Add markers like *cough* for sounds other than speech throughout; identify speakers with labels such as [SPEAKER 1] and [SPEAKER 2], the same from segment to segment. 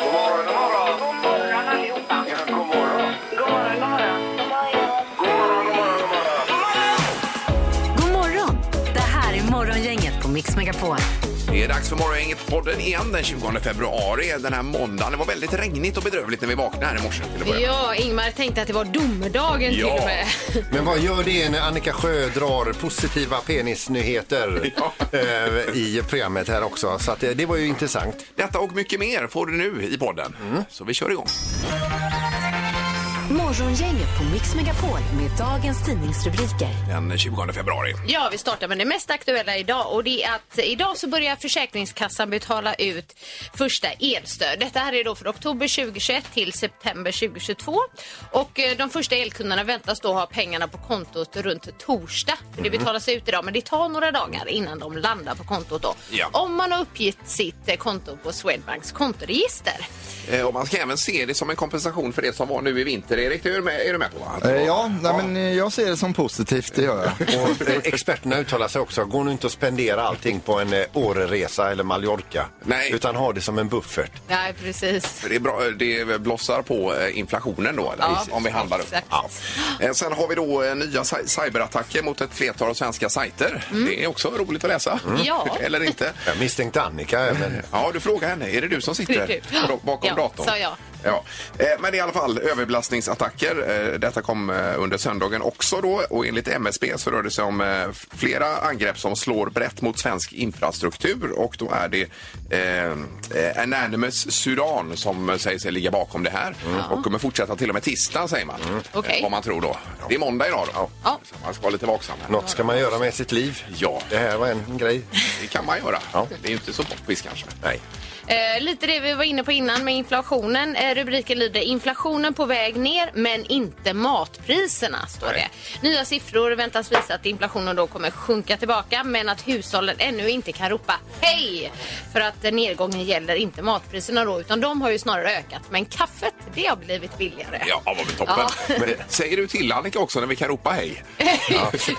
[SPEAKER 1] God morgon, god morgon. God morgon allihopa. Ja, god morgon. God morgon, god morgon. God morgon, god morgon, god morgon.
[SPEAKER 2] God morgon! Det här är Morgongänget på Mix Megapol.
[SPEAKER 3] Det är dags för Morgongänget-podden igen den 20 februari. Den här måndagen. Det var väldigt regnigt och bedrövligt när vi vaknade här i morse. Till att börja med.
[SPEAKER 4] Ja, Ingmar tänkte att det var domedagen till
[SPEAKER 3] Ja.
[SPEAKER 4] och med. *laughs*
[SPEAKER 5] Men vad gör det när Annika Sjö drar positiva penisnyheter
[SPEAKER 3] *laughs* Ja.
[SPEAKER 5] eh, i programmet här också? Så att, eh, det var ju intressant.
[SPEAKER 3] Detta och mycket mer får du nu i podden.
[SPEAKER 4] Mm.
[SPEAKER 3] Så vi kör igång.
[SPEAKER 2] Morgongänget på Mix Megapol med dagens tidningsrubriker.
[SPEAKER 3] Den 20 februari.
[SPEAKER 4] Ja, vi startar med det mest aktuella idag och det är att idag så börjar Försäkringskassan betala ut första elstöd. Detta här är då från oktober 2021 till september 2022 och eh, de första elkunderna väntas då ha pengarna på kontot runt torsdag. För
[SPEAKER 3] Mhm.
[SPEAKER 4] det betalas ut idag, men det tar några dagar innan de landar på kontot då.
[SPEAKER 3] Ja.
[SPEAKER 4] Om man har uppgett sitt eh, konto på Swedbanks kontoregister.
[SPEAKER 3] Eh, Och man ska även se det som en kompensation för det som var nu i vinter. Erik, det är du med, är du med på? Va? Att det
[SPEAKER 6] Eh,
[SPEAKER 3] var-
[SPEAKER 6] Ja, nej, men eh, jag ser det som positivt, det gör
[SPEAKER 3] *laughs*
[SPEAKER 6] jag.
[SPEAKER 5] Och eh, experterna uttalar sig också. Går nu inte att spendera allting på en eh, Åreresa eller Mallorca.
[SPEAKER 3] Nej.
[SPEAKER 5] Utan ha det som en buffert.
[SPEAKER 4] Nej, precis.
[SPEAKER 3] För Det, är bra, eh, det blossar på eh, inflationen då, eller?
[SPEAKER 4] Ja,
[SPEAKER 3] om vi handlar upp.
[SPEAKER 4] exakt.
[SPEAKER 3] Ja. Eh, Sen har vi då eh, nya cy- cyberattacker mot ett flertal svenska sajter. Det är också roligt att läsa.
[SPEAKER 4] Mm. Ja.
[SPEAKER 3] *laughs* Eller inte.
[SPEAKER 5] Jag misstänkte Annika eh, även.
[SPEAKER 3] Ja, du frågar henne. Är det du som sitter
[SPEAKER 4] Det är du.
[SPEAKER 3] bra- bakom
[SPEAKER 4] Ja,
[SPEAKER 3] datorn?
[SPEAKER 4] sa jag.
[SPEAKER 3] Ja. Eh, Men i alla fall överbelastningsattacker. Eh, Detta kom eh, under söndagen också då och enligt MSB så rör det sig om eh, flera angrepp som slår brett mot svensk infrastruktur och då är det eh, eh, Anonymous Sudan som säger sig ligga bakom det här och kommer fortsätta till och med tisdag säger man.
[SPEAKER 4] Mm. Okej.
[SPEAKER 3] Eh, Vad man tror då. Det är måndag idag då.
[SPEAKER 4] Ja.
[SPEAKER 3] Så man ska vara lite vaksam. Här.
[SPEAKER 5] Något ska man göra med sitt liv.
[SPEAKER 3] Ja,
[SPEAKER 5] Det här var en grej.
[SPEAKER 3] det kan man göra. Det är ju inte så poppis kanske.
[SPEAKER 5] Nej.
[SPEAKER 4] Eh, lite det vi var inne på innan med inflationen. Eh, rubriken lyder inflationen på väg ner men inte matpriserna. står
[SPEAKER 3] Nej.
[SPEAKER 4] det. Nya siffror väntas visa att inflationen då kommer sjunka tillbaka men att hushållen ännu inte kan ropa hej för att eh, nedgången gäller inte matpriserna då utan de har ju snarare ökat. Men kaffet det har blivit billigare. *laughs*
[SPEAKER 3] Ja, vad väl toppen.
[SPEAKER 4] Ja.
[SPEAKER 3] Men det- säger du till Annika också när vi kan ropa hej?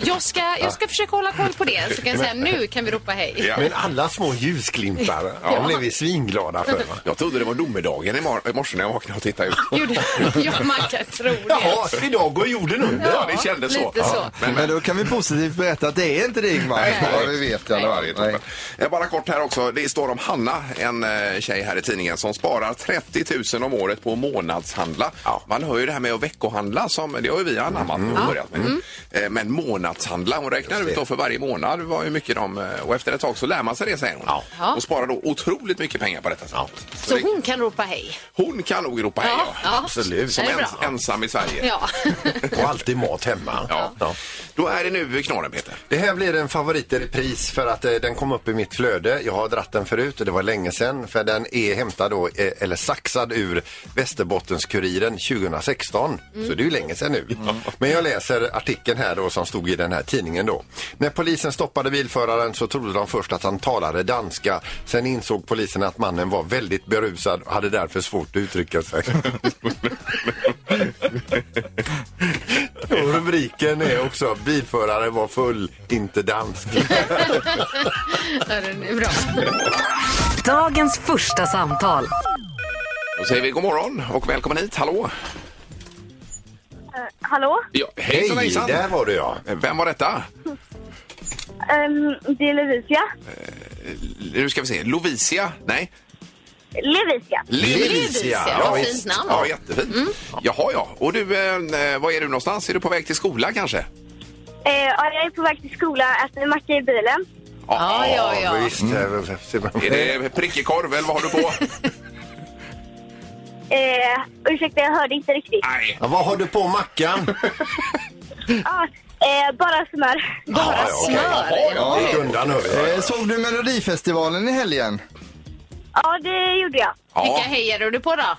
[SPEAKER 4] jag, ska, jag ska försöka hålla koll på det så kan jag säga nu kan vi ropa hej.
[SPEAKER 3] Ja.
[SPEAKER 5] Men alla små ljusglimtar, de blev vi svinglada för. Va?
[SPEAKER 3] Jag trodde det var domedagen i mor- i morse när jag vaknade och tittade ut.
[SPEAKER 4] *laughs* Gjorde- Ja, man kan tro det.
[SPEAKER 5] Jaha, idag går jorden under.
[SPEAKER 3] Ja, det kändes så.
[SPEAKER 4] lite så.
[SPEAKER 3] Men, men,
[SPEAKER 6] Men då kan vi positivt berätta att det är inte det Ingmar.
[SPEAKER 3] Nej.
[SPEAKER 6] Ja, vi vet i alla
[SPEAKER 3] Ja,
[SPEAKER 6] fall.
[SPEAKER 3] det är
[SPEAKER 6] Nej.
[SPEAKER 3] toppen. Eh, Bara kort här också. Det står om Hanna, en eh, tjej här i tidningen, som sparar 30 000 om året på att månadshandla. Man hör ju det här med att veckohandla, som, det har ju vi anammat
[SPEAKER 5] Mm.
[SPEAKER 3] och börjat med.
[SPEAKER 4] Mm.
[SPEAKER 3] Eh, Men månadshandla, hon räknar ut då för varje månad vad hur mycket de... eh, Och efter ett tag så lär man sig det, säger hon.
[SPEAKER 4] Ja.
[SPEAKER 3] Och sparar då otroligt mycket pengar på detta sätt. Så
[SPEAKER 4] Så
[SPEAKER 3] det-
[SPEAKER 4] hon kan ropa hej.
[SPEAKER 3] Hon kan nog ropa hej, ja.
[SPEAKER 5] absolut.
[SPEAKER 4] Det
[SPEAKER 3] Som
[SPEAKER 4] är bra.
[SPEAKER 3] ens, ensam i Sverige.
[SPEAKER 4] Ja.
[SPEAKER 5] Och alltid mat hemma.
[SPEAKER 3] Ja.
[SPEAKER 5] Ja.
[SPEAKER 3] Då är det nu knorren, Peter.
[SPEAKER 5] Det här blir en favorit i repris för att eh, den kom upp i mitt flöde. Jag har dratt den förut och det var länge sedan för den är hämtad då, eh, eller saxad ur Västerbottens-Kuriren 2016. Så det är ju länge sedan nu. Men jag läser artikeln här då som stod i den här tidningen då. När polisen stoppade bilföraren så trodde de först att han talade danska. Sen insåg polisen att mannen var väldigt berusad och hade därför svårt att uttrycka sig. Och rubriken är också bilförare var full, inte dansk.
[SPEAKER 4] Ja, den är bra.
[SPEAKER 2] Dagens första samtal.
[SPEAKER 3] Då säger vi god morgon och välkommen hit. Hallå!
[SPEAKER 7] Eh, hallå?
[SPEAKER 3] Ja,
[SPEAKER 5] Hej,
[SPEAKER 3] hejsan, hejsan!
[SPEAKER 5] där var du ja.
[SPEAKER 3] Vem var detta?
[SPEAKER 7] Ehm, det är Levisia.
[SPEAKER 3] Nu ska vi se. Lovisia? Nej.
[SPEAKER 7] Levisia.
[SPEAKER 4] Levisia,
[SPEAKER 3] Ja,
[SPEAKER 4] vad
[SPEAKER 3] visst.
[SPEAKER 4] fint namn. Mm.
[SPEAKER 3] Ja, jättefint. Jaha, ja. Och du, eh, var är du någonstans? Är du på väg till skolan kanske?
[SPEAKER 7] Eh, ja, jag är på väg till skolan, äter en macka i bilen.
[SPEAKER 4] Ja, ja, ja.
[SPEAKER 5] visst. eh, ser man.
[SPEAKER 3] Är det prickekorv eller vad har
[SPEAKER 4] *laughs*
[SPEAKER 3] du på?
[SPEAKER 7] Eh, ursäkta, jag hörde inte riktigt.
[SPEAKER 3] Nej.
[SPEAKER 5] Ja, vad har du på mackan?
[SPEAKER 7] Ah, eh, bara smör.
[SPEAKER 5] Ja,
[SPEAKER 4] Bara
[SPEAKER 5] ja, okej.
[SPEAKER 4] smör.
[SPEAKER 5] Ja, gick undan hörru.
[SPEAKER 6] Eh, Såg du Melodifestivalen i helgen?
[SPEAKER 7] Ja, det gjorde jag.
[SPEAKER 4] Vilka
[SPEAKER 3] Ja.
[SPEAKER 4] hejade du på då?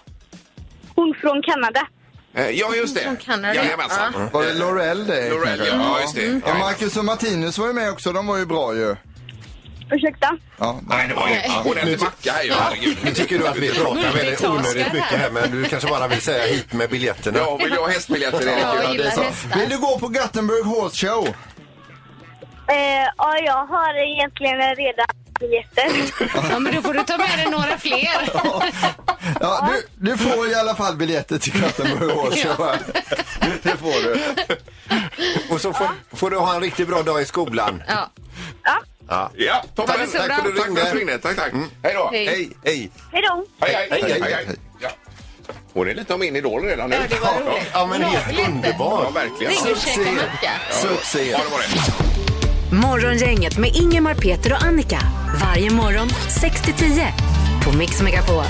[SPEAKER 7] Hon från Kanada.
[SPEAKER 3] Eh, ja, just
[SPEAKER 4] Från
[SPEAKER 3] det.
[SPEAKER 4] Kanada.
[SPEAKER 3] Jajamensan.
[SPEAKER 6] Var det Laurel det?
[SPEAKER 3] Lorell,
[SPEAKER 6] kanske?
[SPEAKER 3] Eh, ja. just det.
[SPEAKER 6] Ja,
[SPEAKER 3] Ja,
[SPEAKER 6] Marcus och Martinus var ju med också, de var ju bra ju.
[SPEAKER 7] Ursäkta.
[SPEAKER 6] Ja,
[SPEAKER 3] Nej, det var ju en ordentlig macka här ju. Herregud.
[SPEAKER 5] Nu tycker du att vi pratar väldigt
[SPEAKER 4] Multitaskar
[SPEAKER 5] onödigt
[SPEAKER 4] här.
[SPEAKER 5] mycket här men du kanske bara vill säga hit med biljetterna.
[SPEAKER 3] Ja, vill du ha hästbiljetter, Erik? Ja,
[SPEAKER 4] Ja, jag
[SPEAKER 3] det är
[SPEAKER 4] gillar
[SPEAKER 3] så.
[SPEAKER 6] Vill
[SPEAKER 4] hästar.
[SPEAKER 6] du gå på
[SPEAKER 4] *laughs*
[SPEAKER 6] Gothenburg Horse Show?
[SPEAKER 7] Eh, ja, jag har egentligen redan *laughs* biljetter.
[SPEAKER 4] Ja, men då får du ta med dig några fler.
[SPEAKER 6] Ja, du, du får i alla fall biljetter till Gothenburg Horse Det får du.
[SPEAKER 5] Och så får, får du ha en riktigt bra dag i skolan.
[SPEAKER 4] Ja.
[SPEAKER 7] Ja,
[SPEAKER 3] Ja,
[SPEAKER 4] det
[SPEAKER 3] toppen.
[SPEAKER 4] är så
[SPEAKER 3] Tack
[SPEAKER 4] bra.
[SPEAKER 3] för att du ringde.
[SPEAKER 5] Tack.
[SPEAKER 3] Tack, ringde. tack. tack. Hej då.
[SPEAKER 4] Hej.
[SPEAKER 5] Hej, hej.
[SPEAKER 7] hej då.
[SPEAKER 3] Hej, hej, hej,
[SPEAKER 6] Hej,
[SPEAKER 3] hej.
[SPEAKER 6] hej.
[SPEAKER 3] Ja. Hon är lite av min idol redan nu.
[SPEAKER 4] Ja, det var roligt.
[SPEAKER 5] Ja, men helt
[SPEAKER 3] Ja,
[SPEAKER 5] underbar.
[SPEAKER 3] verkligen.
[SPEAKER 4] Ring och käka macka.
[SPEAKER 6] Succé.
[SPEAKER 3] Ja, det var det.
[SPEAKER 2] Morgongänget med Ingemar, Peter och Annika. Varje morgon 6 till 10 på Mix Megapol.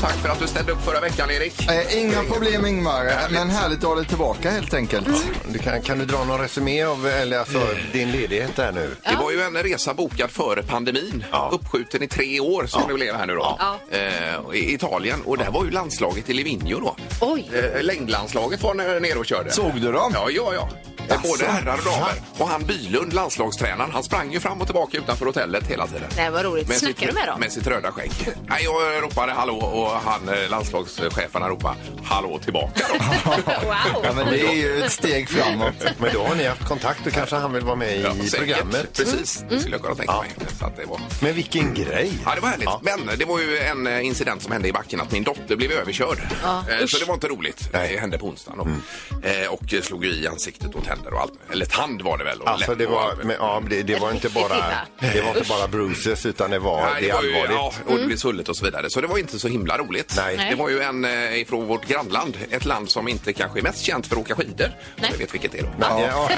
[SPEAKER 3] Tack för att du ställde upp förra veckan, Erik.
[SPEAKER 6] Eh, Inga problem Ingmar, men härligt att ha dig tillbaka helt enkelt.
[SPEAKER 4] Mm.
[SPEAKER 5] Du kan, kan du dra någon resumé av eller alltså, din ledighet där nu?
[SPEAKER 3] Det var ju en resa bokad före pandemin, uppskjuten i tre år som det blev här nu då,
[SPEAKER 4] Ja.
[SPEAKER 3] Eh, i Italien. Och där var ju landslaget i Livigno då.
[SPEAKER 4] Oj.
[SPEAKER 3] Eh, längdlandslaget var nere nere och körde.
[SPEAKER 6] Såg du dem?
[SPEAKER 3] Ja, ja, ja. Eh,
[SPEAKER 6] Jaså?
[SPEAKER 3] Både herrar och damer. Och han Bylund, landslagstränaren, han sprang ju fram och tillbaka utanför hotellet hela tiden.
[SPEAKER 4] Nej, vad roligt.
[SPEAKER 3] Med
[SPEAKER 4] Snackar
[SPEAKER 3] sitt,
[SPEAKER 4] du med dem?
[SPEAKER 3] Med sitt röda skägg. Nej, jag ropade hallå och han, eh, landslagschefen han ropade hallå tillbaka. Då.
[SPEAKER 6] Ja,
[SPEAKER 4] Wow.
[SPEAKER 6] men det är ju ett steg framåt.
[SPEAKER 5] Men då har ni haft kontakt och kanske han vill vara med i
[SPEAKER 3] Ja, säkert.
[SPEAKER 5] programmet.
[SPEAKER 3] Precis,
[SPEAKER 4] Mm.
[SPEAKER 3] det skulle jag kunna tänka mig. Så att det var...
[SPEAKER 5] Men vilken grej!
[SPEAKER 3] Ja, det var härligt. Men det var ju en eh, incident som hände i backen att min dotter blev överkörd.
[SPEAKER 4] Ja,
[SPEAKER 3] Eh,
[SPEAKER 4] usch.
[SPEAKER 3] Så det var inte roligt. Det hände på onsdagen. Då.
[SPEAKER 5] Mm.
[SPEAKER 3] Eh, Och eh, slog ju i ansiktet och tänder och allt. Eller tand var det väl? Och
[SPEAKER 5] Alltså
[SPEAKER 3] läpp
[SPEAKER 5] det
[SPEAKER 3] och
[SPEAKER 5] var,
[SPEAKER 3] allt.
[SPEAKER 5] men, ja, det, det var inte bara, det var inte bara bruises utan det var,
[SPEAKER 3] Nej,
[SPEAKER 5] det är
[SPEAKER 3] var ju,
[SPEAKER 5] allvarligt.
[SPEAKER 3] ja, och det blev sulligt och så vidare. Så det var inte så himla roligt.
[SPEAKER 5] Nej. Nej.
[SPEAKER 3] Det var ju en eh, ifrån vårt grannland, ett land som inte kanske är mest känt för att åka skidor.
[SPEAKER 4] Nej.
[SPEAKER 3] Jag vet vilket det är då.
[SPEAKER 5] Ja, ja,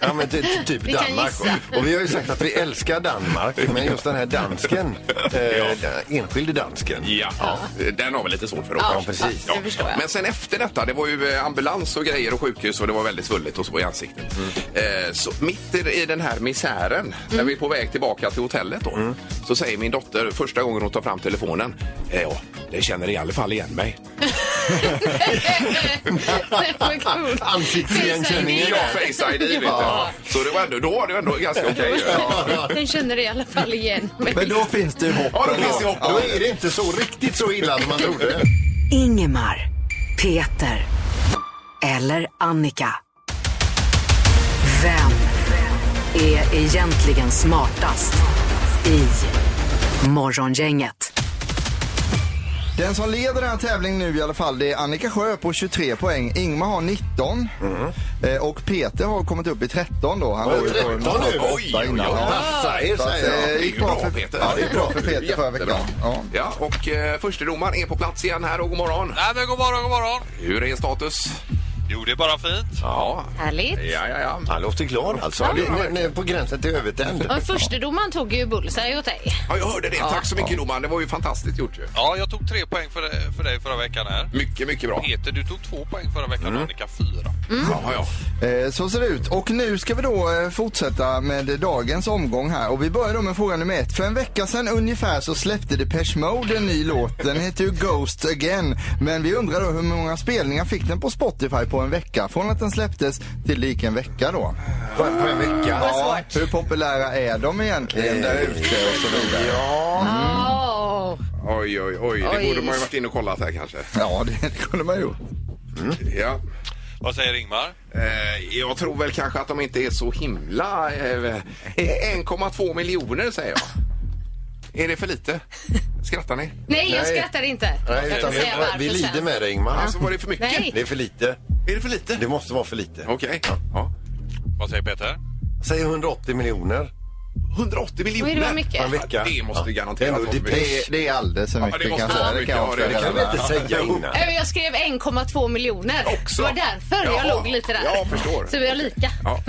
[SPEAKER 5] ja, men ty- ty- typ
[SPEAKER 4] Vi kan
[SPEAKER 5] Danmark.
[SPEAKER 4] gissa.
[SPEAKER 5] Och, och vi har ju sagt att vi älskar Danmark, men just den här dansken, eh, den enskilde dansken.
[SPEAKER 3] Ja, Eh, den har vi lite svårt för att
[SPEAKER 4] Ja,
[SPEAKER 3] åka.
[SPEAKER 5] precis.
[SPEAKER 4] det förstår jag. *laughs*
[SPEAKER 3] Men sen efter detta, det var ju eh, ambulans och grejer och sjukhus och det var väldigt svulligt och så i ansiktet. Eh, så mitt i i den här misären, när vi är på
[SPEAKER 4] Mm.
[SPEAKER 3] väg tillbaka till hotellet då, så säger min dotter första gången hon tar fram telefonen, eh, ja, det känner i alla fall igen mig.
[SPEAKER 4] Nej, vad kul.
[SPEAKER 5] Ansiktsigenkänningen.
[SPEAKER 3] Ja, Face ID vet
[SPEAKER 4] Ja.
[SPEAKER 3] du. Så det var ändå, då var det ändå ganska okej. Ja.
[SPEAKER 4] Den känner i alla fall igen mig.
[SPEAKER 6] Men då finns det ju hopp.
[SPEAKER 3] Ja, då finns det hopp.
[SPEAKER 5] Då är det inte så riktigt så illa som man trodde.
[SPEAKER 2] Ingemar, Peter eller Annika. Vem är egentligen smartast i Morgongänget?
[SPEAKER 6] Den som leder den här tävlingen nu i alla fall det är Annika Sjö på 23 poäng. Ingmar har 19
[SPEAKER 5] Mm.
[SPEAKER 6] eh, och Peter har kommit upp i 13 då. Han var ju på
[SPEAKER 5] 13 nu.
[SPEAKER 6] 08
[SPEAKER 3] Oj, oj,
[SPEAKER 6] innan.
[SPEAKER 3] oj.
[SPEAKER 6] Ja.
[SPEAKER 5] Passa er,
[SPEAKER 6] Så att,
[SPEAKER 5] säger jag.
[SPEAKER 6] eh,
[SPEAKER 3] Det är ju
[SPEAKER 6] gick bra
[SPEAKER 3] bra,
[SPEAKER 6] för
[SPEAKER 3] Peter.
[SPEAKER 6] Ja, det gick bra för Peter
[SPEAKER 3] Jättebra.
[SPEAKER 6] förra veckan. Ja.
[SPEAKER 3] Ja, och eh, förstedomaren är på plats igen här och god morgon.
[SPEAKER 8] Nej, men god morgon, god morgon.
[SPEAKER 3] Hur är status?
[SPEAKER 8] Jo, det är bara fint.
[SPEAKER 3] Ja,
[SPEAKER 4] Härligt.
[SPEAKER 3] ja, ja. ja.
[SPEAKER 5] Han låter glad alltså. Det, det, det, är på gränsen till övertänd.
[SPEAKER 4] Ja, Förstedomaren tog ju bullseye åt dig.
[SPEAKER 3] Ja, jag hörde det. Tack så mycket, domaren. Det var ju fantastiskt gjort ju.
[SPEAKER 8] Ja, jag tog tre poäng för, för dig förra veckan här.
[SPEAKER 3] Mycket, mycket bra.
[SPEAKER 8] Peter, du tog två poäng förra veckan och Annika fyra.
[SPEAKER 3] Ja, ja.
[SPEAKER 6] Eh, Så ser det ut. Och nu ska vi då eh, fortsätta med dagens omgång här. Och vi börjar då med fråga nummer ett. För en vecka sedan ungefär så släppte Depeche Mode en ny låt. Den heter ju Ghost Again. Men vi undrar då hur många spelningar fick den på Spotify på en vecka? Från att den släpptes till lik en vecka då.
[SPEAKER 5] På på en vecka.
[SPEAKER 6] Ja, hur populära är de egentligen där ute och så vidare?
[SPEAKER 4] Åh.
[SPEAKER 3] Oj, oj, oj. Det
[SPEAKER 4] Oj.
[SPEAKER 3] borde man ju varit inne och kollat här kanske.
[SPEAKER 6] Ja, det, det kunde man ju.
[SPEAKER 3] Ja.
[SPEAKER 8] Vad säger Ingmar?
[SPEAKER 3] Eh, jag tror väl kanske att de inte är så himla... Eh, 1,2 miljoner säger jag. Är det för lite? Skrattar ni?
[SPEAKER 4] Nej, jag
[SPEAKER 5] Nej.
[SPEAKER 4] skrattar inte.
[SPEAKER 5] Nej,
[SPEAKER 4] Jag kan
[SPEAKER 5] utan vi,
[SPEAKER 4] säga varför
[SPEAKER 5] vi
[SPEAKER 4] sen.
[SPEAKER 5] lider med dig, Ingmar.
[SPEAKER 3] Alltså var det för mycket?
[SPEAKER 4] Nej.
[SPEAKER 5] Det är för lite.
[SPEAKER 3] Är det för lite?
[SPEAKER 5] Det måste vara för lite.
[SPEAKER 3] Okej. Ja.
[SPEAKER 8] Vad säger Peter?
[SPEAKER 5] Säg 180 miljoner
[SPEAKER 3] 180
[SPEAKER 4] Oj, det var
[SPEAKER 3] miljoner?
[SPEAKER 4] mycket.
[SPEAKER 5] på en vecka.
[SPEAKER 3] Det måste vi garanterat
[SPEAKER 5] Ändå,
[SPEAKER 3] vara för
[SPEAKER 5] det,
[SPEAKER 3] mycket.
[SPEAKER 5] det,
[SPEAKER 6] Det, det är alldeles för
[SPEAKER 3] det
[SPEAKER 6] mycket
[SPEAKER 3] måste
[SPEAKER 6] kan jag
[SPEAKER 3] vara
[SPEAKER 6] säga. Det kan jag
[SPEAKER 3] mycket. Ja, det
[SPEAKER 6] avslöja
[SPEAKER 5] kan
[SPEAKER 6] här.
[SPEAKER 5] vi inte säga innan.
[SPEAKER 4] *laughs* Nej, men Jag skrev 1,2 miljoner.
[SPEAKER 3] Också.
[SPEAKER 4] Det var därför
[SPEAKER 3] Jaha.
[SPEAKER 4] jag låg lite där.
[SPEAKER 3] Jag förstår.
[SPEAKER 4] Så vi har lika.
[SPEAKER 3] Ja.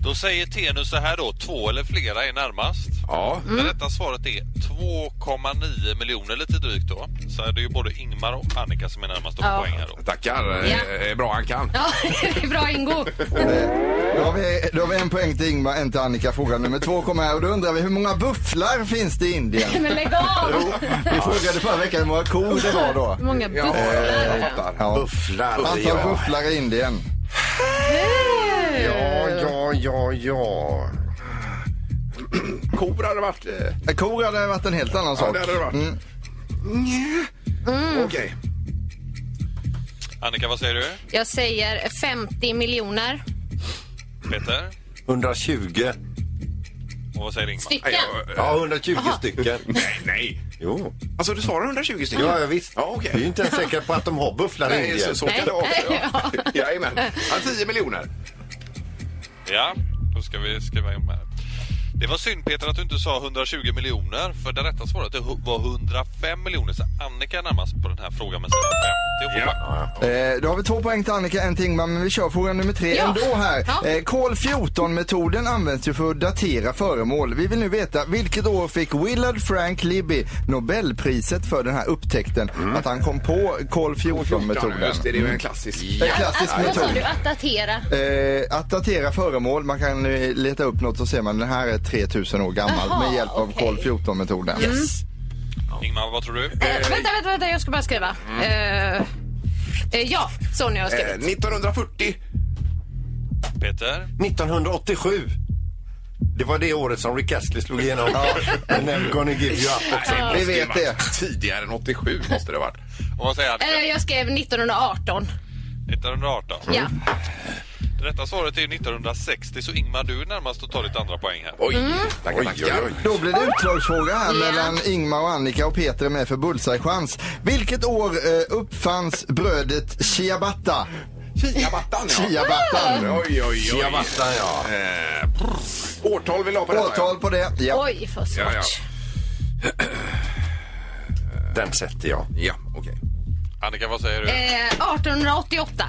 [SPEAKER 8] Då säger Tenus så här då, två eller flera är närmast.
[SPEAKER 3] ja.
[SPEAKER 4] Mm.
[SPEAKER 8] Det rätta svaret är 2,9 miljoner lite drygt då. Så det är ju både Ingmar och Annika som är närmast på
[SPEAKER 4] Ja.
[SPEAKER 8] poäng här då.
[SPEAKER 3] Tackar. Eh,
[SPEAKER 4] Ja.
[SPEAKER 3] Bra han kan.
[SPEAKER 4] Ja, *laughs* det är bra Ingo.
[SPEAKER 6] Eh, Då har, vi, då har vi en poäng till Ingmar, en till Annika. Fråga nummer två kommer här och då undrar vi hur många bufflar finns det i Indien?
[SPEAKER 4] *laughs* Men lägg av!
[SPEAKER 6] Vi frågade förra veckan hur många kor det var då.
[SPEAKER 4] Hur många
[SPEAKER 3] Ja, jag
[SPEAKER 4] bufflar?
[SPEAKER 3] fattar.
[SPEAKER 6] Ja.
[SPEAKER 5] Bufflar.
[SPEAKER 6] Antal
[SPEAKER 5] ja.
[SPEAKER 6] bufflar i Indien.
[SPEAKER 5] Ja, ja, ja, ja.
[SPEAKER 3] Kor hade varit... Eh,
[SPEAKER 6] Eh, Kor hade varit en helt annan
[SPEAKER 3] Ja,
[SPEAKER 6] sak.
[SPEAKER 3] det hade det varit.
[SPEAKER 6] Mm.
[SPEAKER 4] Mm.
[SPEAKER 3] Okej.
[SPEAKER 8] Annika, vad säger du?
[SPEAKER 4] Jag säger 50 miljoner.
[SPEAKER 8] Peter?
[SPEAKER 5] 120.
[SPEAKER 8] Och vad säger Ingmar?
[SPEAKER 4] Stycken.
[SPEAKER 3] jag-
[SPEAKER 5] Ja, 120 stycken.
[SPEAKER 3] *laughs* Nej, nej.
[SPEAKER 5] Jo.
[SPEAKER 3] Alltså du svarar 120 stycken?
[SPEAKER 5] Ja, ja, visst.
[SPEAKER 3] Ja, okej.
[SPEAKER 5] Vi är ju inte ens säkra på att de har bufflar i
[SPEAKER 3] Nej,
[SPEAKER 5] Indien.
[SPEAKER 3] så, så kan det vara.
[SPEAKER 4] *laughs*
[SPEAKER 3] Ja. Jajamän. Ja, 10 miljoner.
[SPEAKER 8] Ja, då ska vi skriva in med. Det var synd Peter att du inte sa 120 miljoner för det rätta svaret var 105 miljoner så Annika är närmast på den här frågan med sina 50 och får poäng.
[SPEAKER 6] Eh, då har vi två poäng till Annika, en till Ingmar, men vi kör fråga nummer tre
[SPEAKER 4] Ja.
[SPEAKER 6] ändå här.
[SPEAKER 4] Ja.
[SPEAKER 6] Eh, kol 14-metoden används ju för att datera föremål. Vi vill nu veta vilket år fick Willard Frank Libby Nobelpriset för den här upptäckten? Att han kom på kol 14-metoden.
[SPEAKER 3] Mm. Just det, det är ju en klassisk.
[SPEAKER 6] En klassisk
[SPEAKER 4] Alltså, Vad sa
[SPEAKER 6] metod.
[SPEAKER 4] du? Att datera?
[SPEAKER 6] Eh, att datera föremål, man kan eh, leta upp något och ser man den här är 3000 år gammal
[SPEAKER 4] Jaha,
[SPEAKER 6] med hjälp av
[SPEAKER 4] okej.
[SPEAKER 6] kol 14-metoden.
[SPEAKER 8] Ingmar, vad tror du?
[SPEAKER 4] Eh, vänta, vänta, vänta, jag ska bara skriva. Eh, eh, ja, så nu har jag
[SPEAKER 3] Eh,
[SPEAKER 5] Mm.
[SPEAKER 4] skrivit.
[SPEAKER 3] 1940.
[SPEAKER 8] Peter?
[SPEAKER 5] 1987. Det var det året som Rick Astley slog igenom. And I'm gonna give you up. också.
[SPEAKER 6] Vi vet det.
[SPEAKER 3] Tidigare än 87 måste det ha varit.
[SPEAKER 8] Och vad säger Annika?
[SPEAKER 4] Eh, jag skrev 1918.
[SPEAKER 8] 1918.
[SPEAKER 4] Ja.
[SPEAKER 8] Det rätta svaret är ju 1960 så Ingmar du är närmast att ta ditt andra poäng här.
[SPEAKER 3] Oj, tackar, tackar.
[SPEAKER 6] Då blir det utslagsfråga här
[SPEAKER 4] Ja.
[SPEAKER 6] mellan Ingmar och Annika och Peter är med för bullseye-chans. Vilket år eh, uppfanns brödet ciabatta?
[SPEAKER 3] Chiabattan, ja.
[SPEAKER 6] Ciabattan.
[SPEAKER 3] Oj, oj, oj.
[SPEAKER 5] Chiabattan, ja.
[SPEAKER 3] Eh, prr. årtal vill du ha på detta?
[SPEAKER 6] Årtal på det. Ja.
[SPEAKER 4] Oj, för svårt.
[SPEAKER 3] Ja, ja.
[SPEAKER 5] Den sätter jag.
[SPEAKER 3] Ja, okej.
[SPEAKER 8] Annika, vad säger du?
[SPEAKER 4] Eh, 1888.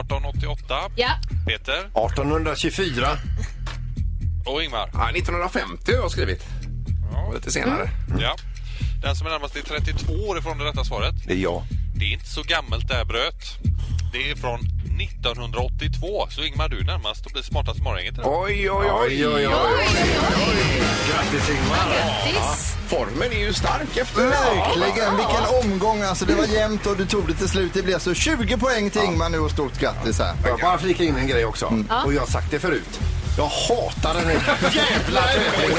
[SPEAKER 8] 1888.
[SPEAKER 4] Ja.
[SPEAKER 8] Peter
[SPEAKER 5] 1824.
[SPEAKER 8] och Ingmar.
[SPEAKER 3] Ja, 1950 har jag skrivit.
[SPEAKER 8] Ja.
[SPEAKER 3] Lite senare.
[SPEAKER 8] Ja. Den som är närmast är 32 år ifrån det rätta svaret.
[SPEAKER 5] Det är jag.
[SPEAKER 8] Det är inte så gammalt det här bröt. Det är från 1982. Så Ingmar, du är närmast och blir smartast i morgongänget. idag.
[SPEAKER 3] Oj, oj, oj.
[SPEAKER 5] Oj, oj, oj.
[SPEAKER 4] Oj, oj, oj.
[SPEAKER 5] Grattis Ingmar.
[SPEAKER 4] Grattis.
[SPEAKER 3] Ah. Formen är ju stark efter...
[SPEAKER 6] Verkligen, vilken omgång. Alltså det var jämnt och du tog det till slut. Det blev alltså 20 poäng till Ingmar nu och stort grattis här.
[SPEAKER 5] Får jag bara flika in en grej också? Och jag har sagt det förut. Jag hatar den här jävla tävlingen.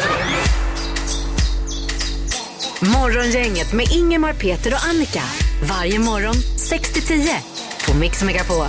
[SPEAKER 2] Morgongänget med Ingemar, Peter och Annika. Varje morgon 6 till 10 på Mix Megapol.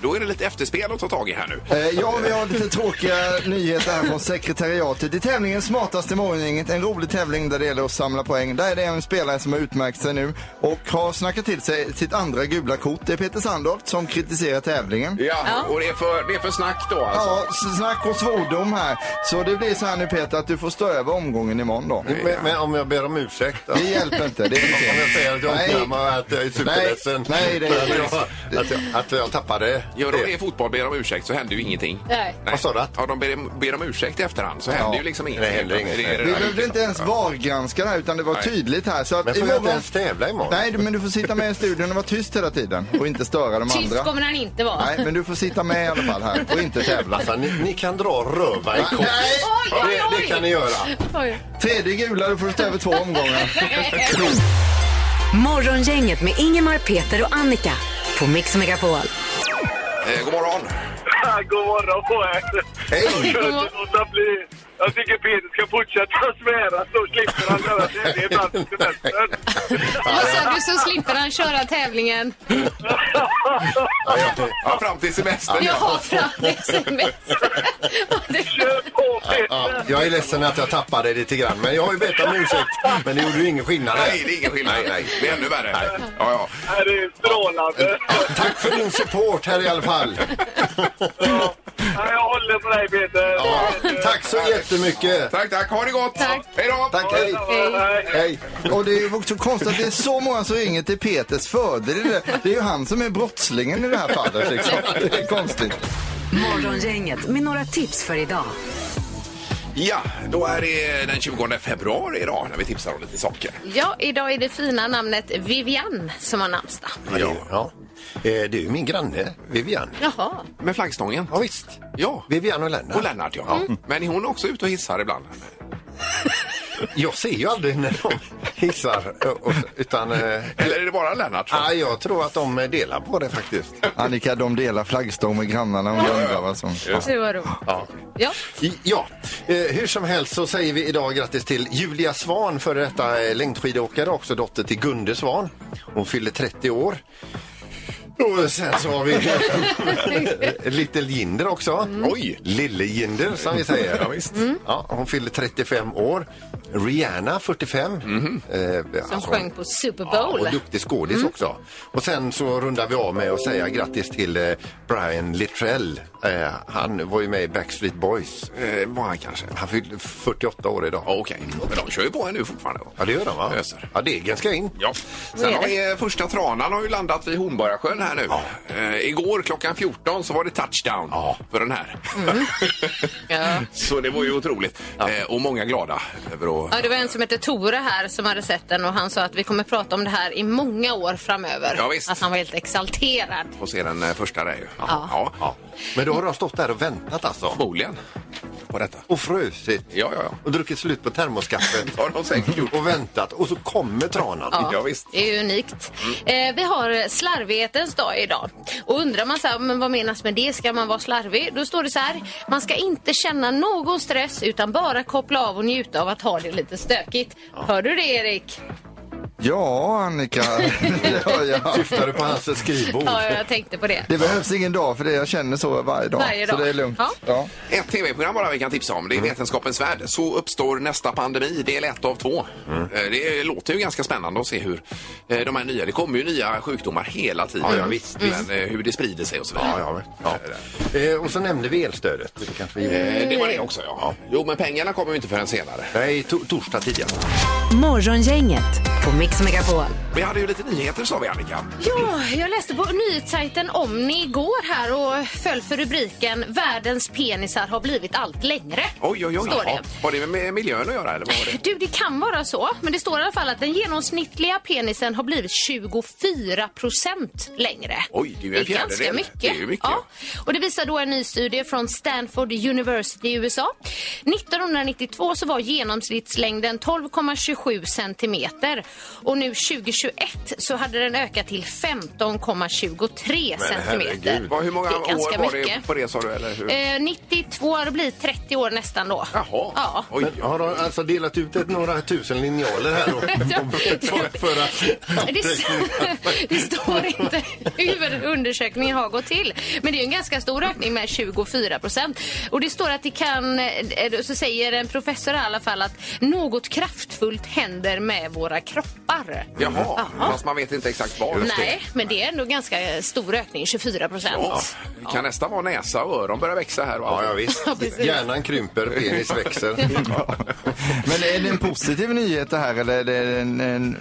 [SPEAKER 3] Då är det lite efterspel att ta tag i här nu.
[SPEAKER 6] Eh, Ja, vi har lite tråkiga nyheter här från sekretariatet. I tävlingen Smartaste morgongänget, en rolig tävling där det gäller att samla poäng. Där är det en spelare som har utmärkt sig nu och har snackat till sig sitt andra gula kort. Det är Peter Sandholt som kritiserar tävlingen.
[SPEAKER 3] Ja, och det är för, det är för snack då alltså.
[SPEAKER 6] Ja, s- snack och svordom här. Så det blir så här nu Peter att du får stå över omgången imorgon då.
[SPEAKER 5] Men, men om jag ber om ursäkt då?
[SPEAKER 6] Det hjälper inte. Det är för
[SPEAKER 5] Om jag
[SPEAKER 6] sent.
[SPEAKER 5] säger att jag
[SPEAKER 6] Nej.
[SPEAKER 5] ångrar att jag är superledsen.
[SPEAKER 6] Nej, nej, det är-
[SPEAKER 5] att, jag, att, jag, att jag tappade
[SPEAKER 3] Gör de det
[SPEAKER 5] det.
[SPEAKER 3] i fotboll, ber om ursäkt, så händer ju ingenting.
[SPEAKER 4] Nej.
[SPEAKER 5] Vad sa du?
[SPEAKER 3] Ja, de ber, ber om ursäkt i efterhand, så händer
[SPEAKER 6] Ja.
[SPEAKER 3] ju liksom ingenting.
[SPEAKER 5] Det händer
[SPEAKER 3] Utan
[SPEAKER 5] inget.
[SPEAKER 3] det är
[SPEAKER 5] Vi
[SPEAKER 3] det
[SPEAKER 6] Vi
[SPEAKER 3] där
[SPEAKER 6] behövde
[SPEAKER 3] utan-
[SPEAKER 6] inte ens vargranska det här utan det var tydligt här. Så att
[SPEAKER 5] Men får jag inte
[SPEAKER 6] imorgon-
[SPEAKER 5] ens tävla imorgon?
[SPEAKER 6] Nej, du- men du får sitta med i studion och vara tyst hela tiden och inte störa de
[SPEAKER 4] Tyst
[SPEAKER 6] andra.
[SPEAKER 4] kommer han inte vara.
[SPEAKER 6] Nej, men du får sitta med i alla fall här och inte tävla.
[SPEAKER 5] Alltså, ni, ni kan dra röva i kors.
[SPEAKER 6] Nej.
[SPEAKER 4] Oj, oj,
[SPEAKER 5] Det,
[SPEAKER 4] oj.
[SPEAKER 5] det kan ni göra.
[SPEAKER 4] *laughs* Oj.
[SPEAKER 6] Tredje gula, du får stå över två omgångar.
[SPEAKER 2] Morgongänget med Ingemar, Peter och Annika på Mix Megapol.
[SPEAKER 3] Eh, god morgon!
[SPEAKER 1] God morgon på er!
[SPEAKER 6] Hej!
[SPEAKER 1] Jag kan inte låta bli. Jag tycker Peter ska fortsätta svära så slipper han göra det. Det är ibland till semestern.
[SPEAKER 4] Vad sa du? Så slipper han köra tävlingen.
[SPEAKER 3] Ja, fram till semestern.
[SPEAKER 4] Jag har fram det sms.
[SPEAKER 1] Kör på
[SPEAKER 5] Ja,
[SPEAKER 1] Peter!
[SPEAKER 5] jag är ledsen att jag tappade lite grann, men jag har ju bett om ursäkt. Men det gjorde ju ingen skillnad.
[SPEAKER 3] Nej, det är ingen skillnad. Nej, nej. Det är ännu värre. Ja, ja.
[SPEAKER 1] Det här är strålande.
[SPEAKER 5] Ja, tack för din support här i alla fall.
[SPEAKER 1] Ja. Nej, Jag håller på dig Peter.
[SPEAKER 5] Ja, tack så jättemycket.
[SPEAKER 3] Tack, tack. Ha det gott!
[SPEAKER 4] Tack.
[SPEAKER 3] Hej då!
[SPEAKER 5] Tack, hej.
[SPEAKER 1] Nej.
[SPEAKER 5] Hej.
[SPEAKER 6] Och det är ju också konstigt att det är så många som ringer till Peters fördel. i det. Det är ju han som är brottslingen i det här fallet liksom. Det är konstigt.
[SPEAKER 2] Morgongänget med några tips för idag.
[SPEAKER 3] Ja, då är det den 20 februari idag när vi tipsar om lite saker.
[SPEAKER 4] Ja, idag är det fina namnet Vivian som har namnsdag.
[SPEAKER 5] Ja. Ja. Eh, Det är ju min granne, Vivian.
[SPEAKER 4] Jaha.
[SPEAKER 3] Med flaggstången.
[SPEAKER 5] Ja, visst. Mm.
[SPEAKER 3] Ja.
[SPEAKER 5] Vivian och Lennart.
[SPEAKER 3] Och Lennart, ja. Men är hon också ute och hissar ibland?
[SPEAKER 5] Jag ser ju aldrig när de *laughs* hissar. och- och- Utan, eh,
[SPEAKER 3] Eller är det bara Lennart? som-
[SPEAKER 5] ja, jag tror att de delar på det faktiskt.
[SPEAKER 6] Annika, de delar flaggstång med grannarna om du undrar vad som...
[SPEAKER 4] Det var roligt.
[SPEAKER 5] Ja.
[SPEAKER 4] Ja.
[SPEAKER 5] I- Ja, eh, hur som helst så säger vi idag grattis till Julia Svan, före detta eh, längdskidåkare, också dotter till Gunde Svan. Hon fyller 30 år. Och sen så har vi *laughs* Little Jinder också.
[SPEAKER 3] Oj!
[SPEAKER 5] Lille Jinder som vi säger.
[SPEAKER 3] Mm.
[SPEAKER 5] Mm.
[SPEAKER 3] Ja, visst. Mm.
[SPEAKER 5] Ja, hon fyllde 35 år. Rihanna 45.
[SPEAKER 3] Mm-hmm.
[SPEAKER 5] Eh,
[SPEAKER 4] Som
[SPEAKER 5] alltså,
[SPEAKER 4] sjöng på Super
[SPEAKER 5] Ja,
[SPEAKER 4] Bowl. Mm.
[SPEAKER 5] och duktig skådis också. Och sen så rundar vi av med att säga grattis till eh, Brian Littrell. Eh, han var ju med i Backstreet Boys.
[SPEAKER 3] Eh, var han kanske?
[SPEAKER 5] Han fyllde 48 år idag.
[SPEAKER 3] Ja, Okej, men de kör ju på här nu fortfarande. va?
[SPEAKER 5] Ja, det gör han va?
[SPEAKER 3] Öser.
[SPEAKER 5] Ja, degen ska in.
[SPEAKER 3] Ja. Sen har vi eh, första tranan har ju landat vid Hornborgasjön här nu. Eh, igår klockan 14 så var det touchdown
[SPEAKER 5] Ja.
[SPEAKER 3] för den här.
[SPEAKER 4] Mm.
[SPEAKER 3] *laughs*
[SPEAKER 4] Ja.
[SPEAKER 3] så det var ju otroligt. Eh, och många glada över att...
[SPEAKER 4] Ja, det var en som hette Tore här som hade sett den och han sa att vi kommer prata om det här i många år framöver.
[SPEAKER 3] Ja, visst.
[SPEAKER 4] Att han var helt exalterad.
[SPEAKER 3] Få se den eh, första där ju.
[SPEAKER 4] Ja.
[SPEAKER 5] Ja. Men då har de stått där och väntat alltså.
[SPEAKER 3] Förmodligen på detta.
[SPEAKER 5] Och frusit.
[SPEAKER 3] Ja, ja, ja.
[SPEAKER 5] Och druckit slut
[SPEAKER 3] *laughs*
[SPEAKER 5] på termoskaffet.
[SPEAKER 3] Har de säkert gjort.
[SPEAKER 5] och väntat. Och så kommer tranan.
[SPEAKER 3] Ja, visst.
[SPEAKER 4] Det är ju unikt. Eh, vi har slarvighetens dag idag. Och undrar man så här, men vad menas med det? Ska man vara slarvig? Då står det så här, man ska inte känna någon stress utan bara koppla av och njuta av att ha det lite stökigt. Hör du det Erik?
[SPEAKER 6] Ja, Annika. det hör jag.
[SPEAKER 5] Syftar du på hans skrivbord?
[SPEAKER 4] Ja, jag tänkte på det.
[SPEAKER 6] Det behövs ingen dag för det. Jag känner så varje dag.
[SPEAKER 4] Varje dag.
[SPEAKER 6] Så det är lugnt.
[SPEAKER 4] Ja.
[SPEAKER 6] Ja.
[SPEAKER 3] Ett tv-program bara vi kan tipsa om. Det
[SPEAKER 5] Mm.
[SPEAKER 3] är Vetenskapens värld. Så uppstår nästa pandemi, del ett av två.
[SPEAKER 5] Mm.
[SPEAKER 3] Eh, Det låter ju ganska spännande att se hur eh, de här nya, det kommer ju nya sjukdomar hela tiden.
[SPEAKER 5] Ja, ja, visst, Mm.
[SPEAKER 3] Men eh, hur det sprider sig och så vidare.
[SPEAKER 5] Ja, ja, ja. Eh, och så nämnde vi elstödet. Det kanske vi gjorde.
[SPEAKER 3] Eh, Det var det också, ja. Jo, men pengarna kommer ju inte förrän senare.
[SPEAKER 5] Nej, to- torsdag tidigare.
[SPEAKER 2] Morgongänget på Mix Megapol.
[SPEAKER 3] Vi hade ju lite nyheter sa vi, Annika.
[SPEAKER 4] Ja, jag läste på nyhetssajten Omni igår här och föll för rubriken Världens penisar har blivit allt längre.
[SPEAKER 3] Oj, oj, oj.
[SPEAKER 4] Står det.
[SPEAKER 3] Ja. Har det med miljön att göra eller vad var
[SPEAKER 4] *laughs*
[SPEAKER 3] det?
[SPEAKER 4] Du, det kan vara så, men det står i alla fall att den genomsnittliga penisen har blivit 24 procent längre.
[SPEAKER 3] Oj, det är ju en
[SPEAKER 4] ganska
[SPEAKER 3] fjärdedel.
[SPEAKER 4] mycket.
[SPEAKER 3] Det är ju mycket,
[SPEAKER 4] Ja. Och det visar då en ny studie från Stanford University i USA. 1992 så var genomsnittslängden 12,27 centimeter och nu 2021 så hade den ökat till 15,23 centimeter.
[SPEAKER 5] herregud.
[SPEAKER 3] Vad- Hur många
[SPEAKER 4] Det är ganska
[SPEAKER 3] år var det
[SPEAKER 4] mycket.
[SPEAKER 3] på det sa du? Eller hur?
[SPEAKER 4] Eh, 92 har det blivit 30 år nästan då.
[SPEAKER 3] Jaha.
[SPEAKER 4] Ja.
[SPEAKER 3] Oj,
[SPEAKER 5] Men har de alltså delat ut ett, några tusen linjaler här
[SPEAKER 4] *laughs*
[SPEAKER 5] då? för, för att...
[SPEAKER 4] Det, *laughs* det står inte hur undersökningen har gått till. Men det är ju en ganska stor ökning med 24 procent. Och det står att det kan, eh, så säger en professor i alla fall att något kraftfullt händer med våra kroppar.
[SPEAKER 3] Jaha, fast man vet inte exakt var.
[SPEAKER 4] Nej, men det är ändå ganska stor ökning, 24 procent.
[SPEAKER 3] Ja. Kan nästan vara näsa och öron börjar växa här.
[SPEAKER 5] Ja, ja, visst.
[SPEAKER 4] *laughs* Ja, precis.
[SPEAKER 5] Hjärnan krymper,
[SPEAKER 3] *laughs*
[SPEAKER 5] penis växer.
[SPEAKER 6] Men är det en positiv nyhet det här eller är det en... en...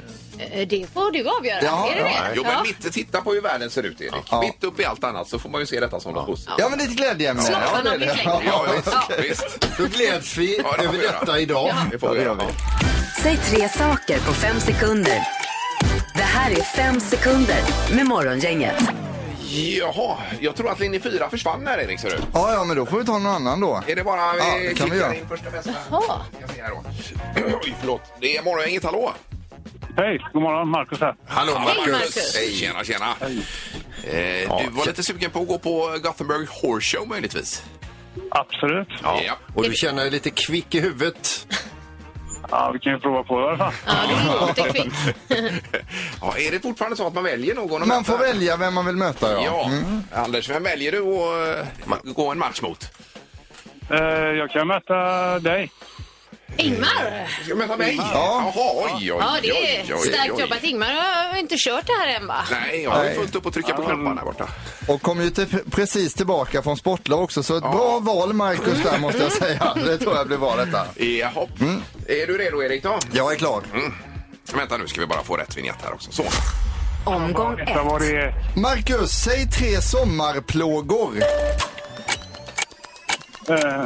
[SPEAKER 4] Eh, Det får du avgöra.
[SPEAKER 6] Ja,
[SPEAKER 4] är det
[SPEAKER 6] ja,
[SPEAKER 4] det?
[SPEAKER 3] Jo, men
[SPEAKER 4] Ja.
[SPEAKER 3] mitt, titta på hur världen ser ut, Erik.
[SPEAKER 6] Ja.
[SPEAKER 3] Mitt upp i allt annat så får man ju se detta som något positivt.
[SPEAKER 6] Ja, men det är ett glädjeämne. Ja,
[SPEAKER 4] Snopparna
[SPEAKER 6] det
[SPEAKER 4] har
[SPEAKER 6] är
[SPEAKER 4] blivit
[SPEAKER 6] det.
[SPEAKER 4] längre.
[SPEAKER 3] Ja, visst.
[SPEAKER 4] Ja.
[SPEAKER 3] visst.
[SPEAKER 5] Då gläds
[SPEAKER 3] *laughs*
[SPEAKER 5] vi
[SPEAKER 3] Ja, det får
[SPEAKER 5] över
[SPEAKER 3] vi göra.
[SPEAKER 5] detta idag.
[SPEAKER 3] Det får
[SPEAKER 6] Ja,
[SPEAKER 3] vi
[SPEAKER 6] det gör
[SPEAKER 3] göra.
[SPEAKER 6] vi.
[SPEAKER 3] Ja.
[SPEAKER 2] Säg tre saker på fem sekunder. Det här är fem sekunder med Morgongänget.
[SPEAKER 3] Jaha, jag tror att linje 4 försvann här, Erik. Ser du.
[SPEAKER 6] Ja, ja, men då får vi ta någon annan då.
[SPEAKER 3] Är det bara vi
[SPEAKER 6] Ja, det kan vi
[SPEAKER 3] klickar
[SPEAKER 6] göra.
[SPEAKER 3] in första bästa?
[SPEAKER 4] Jaha.
[SPEAKER 3] Ska se här då. Oj, förlåt. Det är Morgongänget, hallå!
[SPEAKER 9] Hej, god morgon. Marcus här.
[SPEAKER 5] Hallå,
[SPEAKER 4] Hej,
[SPEAKER 5] Marcus.
[SPEAKER 4] Marcus.
[SPEAKER 3] Hej, tjena, tjena. Eh, du var lite sugen på att gå på Gothenburg Horse Show möjligtvis?
[SPEAKER 9] Absolut.
[SPEAKER 5] Ja.
[SPEAKER 3] Ja.
[SPEAKER 5] Och du känner dig lite kvick i huvudet.
[SPEAKER 9] Ja, vi kan ju prova på det i alla fall.
[SPEAKER 4] Ja,
[SPEAKER 3] *laughs*
[SPEAKER 4] det låter kvickt.
[SPEAKER 3] ja. Är det fortfarande så att man väljer någon att
[SPEAKER 6] Man
[SPEAKER 3] möta?
[SPEAKER 6] får välja Mm. vem man vill möta, ja.
[SPEAKER 3] Ja. Anders, vem väljer du att eh, gå en match mot?
[SPEAKER 9] Eh, Jag kan möta dig.
[SPEAKER 4] Ingmar!
[SPEAKER 3] Ska du möta mig?
[SPEAKER 6] Ja.
[SPEAKER 3] Jaha, oj, oj, oj.
[SPEAKER 4] Ja, det
[SPEAKER 3] oj,
[SPEAKER 4] är
[SPEAKER 3] oj.
[SPEAKER 4] starkt jobbat. Ingmar har inte kört det här än, va?
[SPEAKER 3] Nej, jag har ju
[SPEAKER 6] Nej.
[SPEAKER 3] fullt upp att trycka på knapparna här borta.
[SPEAKER 6] Och kom ju till, precis tillbaka från sportlov också, så ett bra val, Marcus, där måste
[SPEAKER 3] *laughs*
[SPEAKER 6] jag säga. Det tror jag blir bra detta.
[SPEAKER 3] Jaha.
[SPEAKER 6] Mm.
[SPEAKER 3] Är du redo, Erik? Då?
[SPEAKER 6] Jag är klar.
[SPEAKER 3] Mm. Vänta nu ska vi bara få rätt vignett här också. Så.
[SPEAKER 2] Omgång
[SPEAKER 9] Detta var
[SPEAKER 2] ett.
[SPEAKER 9] det...
[SPEAKER 6] Marcus, säg tre sommarplågor.
[SPEAKER 9] Eh,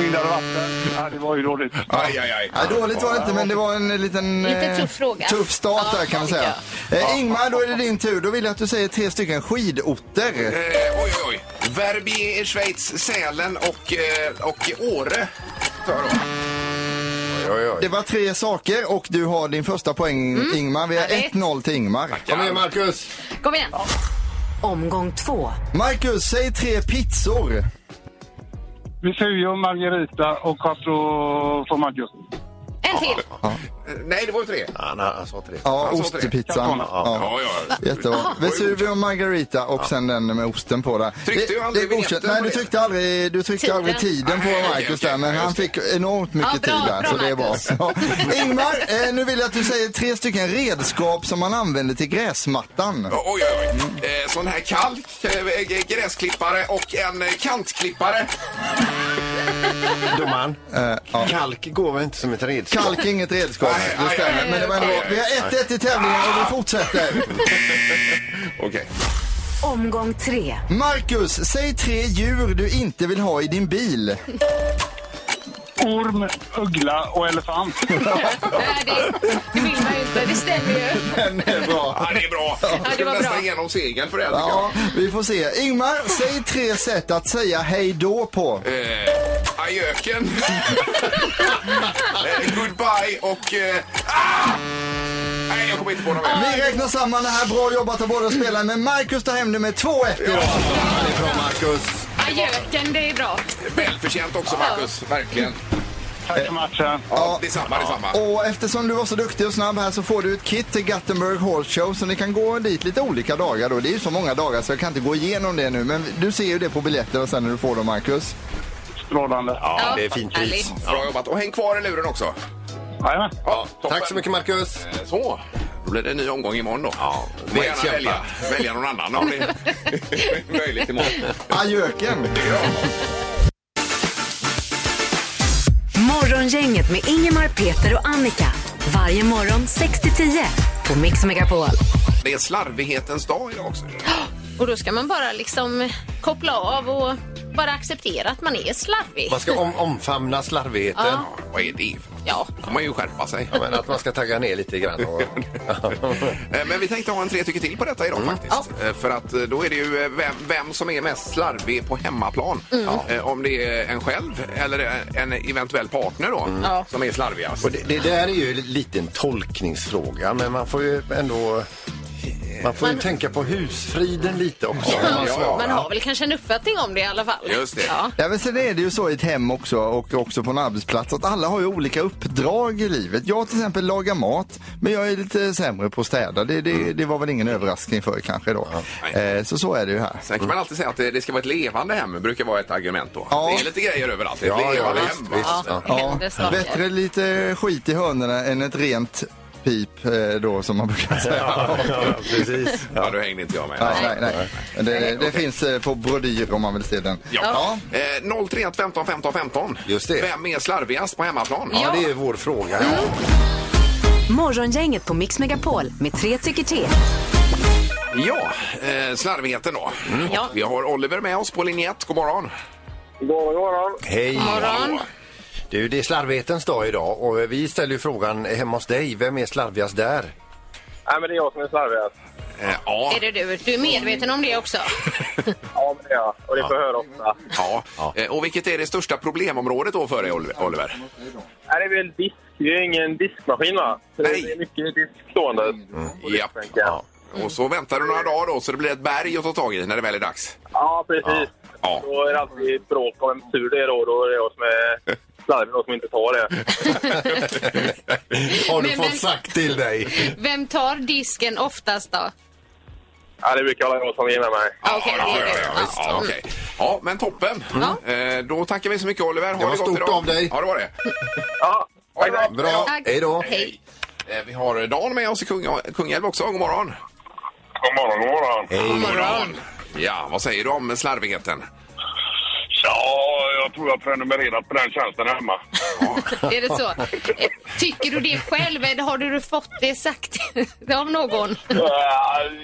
[SPEAKER 9] Vindar och vatten. Ja, det var ju dåligt.
[SPEAKER 3] Aj, aj, aj.
[SPEAKER 6] Ja, dåligt var det inte, men det var en liten...
[SPEAKER 4] Lite
[SPEAKER 6] eh,
[SPEAKER 4] tuff fråga.
[SPEAKER 6] Tuff start
[SPEAKER 4] Ja,
[SPEAKER 6] där kan man
[SPEAKER 4] tycker
[SPEAKER 6] säga. Eh, Ingmar, då är det din tur. Då vill jag att du säger tre stycken skidorter.
[SPEAKER 3] Eh, oj, oj, oj. Verbier i Schweiz, Sälen och, eh, och Åre. tar jag då.
[SPEAKER 5] Oj, oj,
[SPEAKER 6] Det
[SPEAKER 5] oj.
[SPEAKER 6] var tre saker och du har din första poäng, Ingmar. Vi har
[SPEAKER 4] Mm. Härligt.
[SPEAKER 6] 1-0 till Ingmar.
[SPEAKER 5] Kom igen, Marcus.
[SPEAKER 4] Kom igen.
[SPEAKER 2] Omgång två.
[SPEAKER 6] Marcus, säg tre pizzor.
[SPEAKER 9] Vesuvio, Margarita och Castro Formaggio.
[SPEAKER 4] En en till.
[SPEAKER 3] Nej, det var ju tre.
[SPEAKER 5] Han, han sa tre.
[SPEAKER 6] Ja,
[SPEAKER 3] Han sa tre.
[SPEAKER 6] ostepizzan.
[SPEAKER 9] Kalkon.
[SPEAKER 6] Ja.
[SPEAKER 3] Ja, ja.
[SPEAKER 6] Jättebra. Vesuvio Margarita och sen den med osten på där.
[SPEAKER 3] Tryckte ju
[SPEAKER 6] Det-
[SPEAKER 3] aldrig
[SPEAKER 6] det är godkänt.
[SPEAKER 3] vinjetten
[SPEAKER 6] Nej,
[SPEAKER 3] på
[SPEAKER 6] du
[SPEAKER 3] det.
[SPEAKER 6] tryckte aldrig, du tryckte
[SPEAKER 4] Tiden.
[SPEAKER 6] aldrig tiden på
[SPEAKER 3] Nej, okej,
[SPEAKER 6] Marcus
[SPEAKER 3] okej.
[SPEAKER 6] där, men
[SPEAKER 3] Ja,
[SPEAKER 6] han
[SPEAKER 3] just
[SPEAKER 6] fick enormt mycket
[SPEAKER 4] Ja, bra,
[SPEAKER 6] tid där,
[SPEAKER 4] bra,
[SPEAKER 6] så det är bra.
[SPEAKER 4] Marcus.
[SPEAKER 6] Ja. Ingmar, eh, nu vill jag att du säger tre stycken redskap som man använder till gräsmattan.
[SPEAKER 3] Oj, oj, oj. Eh, sån här kalk, eh, g- gräsklippare och en eh, kantklippare.
[SPEAKER 5] Domaren, kalk går väl inte som ett redskap?
[SPEAKER 6] Kalk är inget redskap,
[SPEAKER 3] Nej,
[SPEAKER 6] det
[SPEAKER 3] aj,
[SPEAKER 6] stämmer.
[SPEAKER 3] aj,
[SPEAKER 6] Men det var ändå,
[SPEAKER 3] aj,
[SPEAKER 6] vi har 1-1 i tävlingen och vi fortsätter.
[SPEAKER 3] Okej.
[SPEAKER 2] Omgång tre.
[SPEAKER 6] Marcus, säg tre djur du inte vill ha i din bil.
[SPEAKER 9] Orm, uggla och elefant.
[SPEAKER 4] Nej, det, det vill man ju inte. Det stämmer ju.
[SPEAKER 6] Den är bra.
[SPEAKER 3] Ja, det är bra. Jag skulle
[SPEAKER 4] var
[SPEAKER 3] nästan
[SPEAKER 4] bra.
[SPEAKER 3] igenom segern för det här, tycker jag.
[SPEAKER 6] Ja, vi får se. Ingmar, säg tre sätt att säga hej då på.
[SPEAKER 3] Eh, ajöken. eh, goodbye och... Eh, ah! Nej, jag kommer inte på något mer.
[SPEAKER 6] Vi räknar samman det här. Bra jobbat av båda spelarna, men Marcus tar hem det med 2-1 idag.
[SPEAKER 5] Det är bra, Marcus.
[SPEAKER 4] Ajöken, det är bra.
[SPEAKER 3] Välförtjänt också, Marcus. Verkligen.
[SPEAKER 9] Tack för matchen.
[SPEAKER 3] Ja, detsamma, detsamma.
[SPEAKER 6] Och eftersom du var så duktig och snabb här så får du ett kit till Gothenburg Horse Show så ni kan gå dit lite olika dagar då. Det är ju så många dagar så jag kan inte gå igenom det nu men du ser ju det på biljetter och sen när du får dem Marcus.
[SPEAKER 9] Strålande.
[SPEAKER 5] Ja, det är fint pris.
[SPEAKER 4] härligt.
[SPEAKER 3] Bra jobbat. Och häng kvar i luren också.
[SPEAKER 9] Jajamän.
[SPEAKER 3] Ja, toppen.
[SPEAKER 5] Tack så mycket, Marcus.
[SPEAKER 3] Eh, Så. Då blir det en ny omgång imorgon då. Ja,
[SPEAKER 5] väl
[SPEAKER 3] gärna
[SPEAKER 5] kämpat.
[SPEAKER 3] välja, välja någon annan om det är möjligt imorgon.
[SPEAKER 6] Ajöken!
[SPEAKER 2] Morgongänget med Ingemar, Peter och Annika. Varje morgon 6-10 på Mix Megapol.
[SPEAKER 3] Det är slarvighetens dag idag också.
[SPEAKER 4] Och då ska man bara liksom koppla av och bara acceptera att man är slarvig.
[SPEAKER 5] Man ska om, omfamna slarvigheten.
[SPEAKER 4] Ja.
[SPEAKER 3] Vad är det? för något?
[SPEAKER 4] Ja.
[SPEAKER 3] Då får man ju skärpa sig.
[SPEAKER 5] Ja, men att man ska tagga ner lite grann. Och...
[SPEAKER 3] *laughs* Eh, Men vi tänkte ha en tre tycker till på detta idag faktiskt. Eh, För att eh, då är det ju eh, vem, vem som är mest slarvig på hemmaplan. Eh, Om det är en själv eller eh, en eventuell partner då som är slarvigast.
[SPEAKER 5] Och det, det där är ju en liten tolkningsfråga, men man får ju ändå... Man får ju tänka på husfriden lite också. när man
[SPEAKER 3] ja.
[SPEAKER 5] svarar.
[SPEAKER 4] Man har väl kanske en uppfattning om det i alla fall.
[SPEAKER 3] Just det.
[SPEAKER 4] Ja.
[SPEAKER 6] Ja, men sen är det ju så i ett hem också och också på en arbetsplats att alla har ju olika uppdrag i livet. Jag till exempel lagar mat, men jag är lite sämre på att städa. Det, det, det var väl ingen överraskning för er kanske då.
[SPEAKER 3] nej.
[SPEAKER 6] Eh, så så är det ju här.
[SPEAKER 3] Sen kan man alltid säga att det det ska vara ett levande hem, brukar vara ett argument då.
[SPEAKER 6] Ja.
[SPEAKER 3] Det är lite grejer överallt. Ett
[SPEAKER 5] Ja, ja,
[SPEAKER 3] levande
[SPEAKER 5] visst,
[SPEAKER 3] hem.
[SPEAKER 5] visst.
[SPEAKER 3] va?
[SPEAKER 4] Ja, det
[SPEAKER 6] Ja,
[SPEAKER 4] händer saker.
[SPEAKER 6] bättre lite skit i hörnorna än ett rent pip eh, då som man brukar säga.
[SPEAKER 5] Ja, ja, precis.
[SPEAKER 3] Ja, då hängde inte jag med.
[SPEAKER 6] Ja, nej, nej. Men Det, det finns eh, på brodyr om man vill se den.
[SPEAKER 3] Ja. Eh, 031 15 15 15.
[SPEAKER 5] Just det.
[SPEAKER 3] Vem är slarvigast på hemmaplan?
[SPEAKER 5] Ja, det är vår fråga.
[SPEAKER 4] Mm.
[SPEAKER 2] Morgongänget på Mix Megapol med tre tycker till.
[SPEAKER 3] Ja, eh, slarvigheten då.
[SPEAKER 4] Mm. Ja.
[SPEAKER 3] Vi har Oliver med oss på linje 1. God morgon.
[SPEAKER 1] God morgon.
[SPEAKER 5] Hej!
[SPEAKER 4] Morgon.
[SPEAKER 5] Du, det är slarvighetens dag idag och vi ställer ju frågan hemma hos dig, vem är slarvigast där?
[SPEAKER 1] Nej, men det är jag som är slarvigast.
[SPEAKER 3] Eh, ja.
[SPEAKER 4] Är det du? Du är medveten om det också?
[SPEAKER 1] Ja, men det är jag. Och det får jag höra ofta.
[SPEAKER 3] Ja. Eh, Och vilket är det största problemområdet då för dig, Ol- Oliver?
[SPEAKER 1] Nej, det är väl disk. Det är ju ingen diskmaskin, va? Så
[SPEAKER 3] Nej.
[SPEAKER 1] Det är mycket disk stående.
[SPEAKER 9] Mm.
[SPEAKER 1] Och det
[SPEAKER 3] Japp.
[SPEAKER 1] tänker jag.
[SPEAKER 3] Och så väntar du några dagar då så det blir ett berg att ta tag i när det väl är dags.
[SPEAKER 1] Ja, precis.
[SPEAKER 3] Ja.
[SPEAKER 1] Då är det alltid bråk om vem tur det är då. Då är det jag som är slarvig och som inte tar det.
[SPEAKER 5] Har du
[SPEAKER 4] Men-
[SPEAKER 5] fått
[SPEAKER 4] men-
[SPEAKER 5] sagt till dig?
[SPEAKER 4] Vem tar disken oftast då?
[SPEAKER 1] Ja, det brukar vara jag som är med mig.
[SPEAKER 4] Ja, okej, det är det.
[SPEAKER 3] ja,
[SPEAKER 4] Ja.
[SPEAKER 3] okej. ja, men toppen. Eh, Då tackar vi så mycket, Oliver. Ha
[SPEAKER 5] Det var
[SPEAKER 3] gott
[SPEAKER 5] stort
[SPEAKER 3] idag.
[SPEAKER 5] av dig.
[SPEAKER 3] Ja, det var det.
[SPEAKER 1] Ja,
[SPEAKER 3] Ha det bra.
[SPEAKER 5] Bra,
[SPEAKER 4] Tack.
[SPEAKER 5] hej då!
[SPEAKER 4] Hej.
[SPEAKER 3] Eh, Vi har Dan med oss i Kung- Kungälv också. God morgon.
[SPEAKER 9] God morgon, god morgon.
[SPEAKER 4] God morgon.
[SPEAKER 3] Ja, vad säger du om slarvigheten?
[SPEAKER 9] Ja, jag tror jag prenumererat på den tjänsten hemma.
[SPEAKER 4] Är det så? Eh, Tycker du det själv eller har du fått det sagt *laughs* av någon?
[SPEAKER 9] Eh,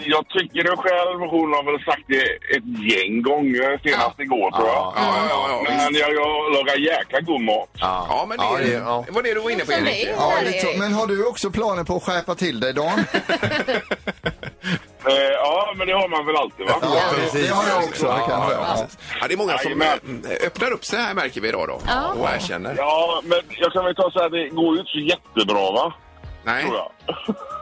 [SPEAKER 9] Jag tycker det själv. Hon har väl sagt det ett gäng gånger senast igår, tror jag.
[SPEAKER 3] Ja, ja, ja, ja,
[SPEAKER 9] Men jag, jag lagar jäkla god mat.
[SPEAKER 3] ja. ja men det,
[SPEAKER 5] Ja, det- ja.
[SPEAKER 3] det var det du var inne på,
[SPEAKER 4] Som
[SPEAKER 3] Erik.
[SPEAKER 4] dig.
[SPEAKER 6] Ja,
[SPEAKER 4] Där
[SPEAKER 6] det
[SPEAKER 4] är
[SPEAKER 6] tror-
[SPEAKER 4] Erik.
[SPEAKER 6] men har du också planer på att skärpa till dig, Dan?
[SPEAKER 9] Eh, Ja, men det har man väl alltid, va?
[SPEAKER 6] Ja,
[SPEAKER 5] precis.
[SPEAKER 6] det har jag också.
[SPEAKER 3] Ja,
[SPEAKER 6] kanske.
[SPEAKER 3] ja,
[SPEAKER 6] Ja.
[SPEAKER 3] precis. ja, det är många som
[SPEAKER 9] Jajamän.
[SPEAKER 3] eh, öppnar upp sig här märker vi idag då.
[SPEAKER 4] Ja.
[SPEAKER 3] Och erkänner.
[SPEAKER 9] Ja, men jag kan väl ta så här, det går ju inte så jättebra va?
[SPEAKER 3] Nej.
[SPEAKER 9] tror jag.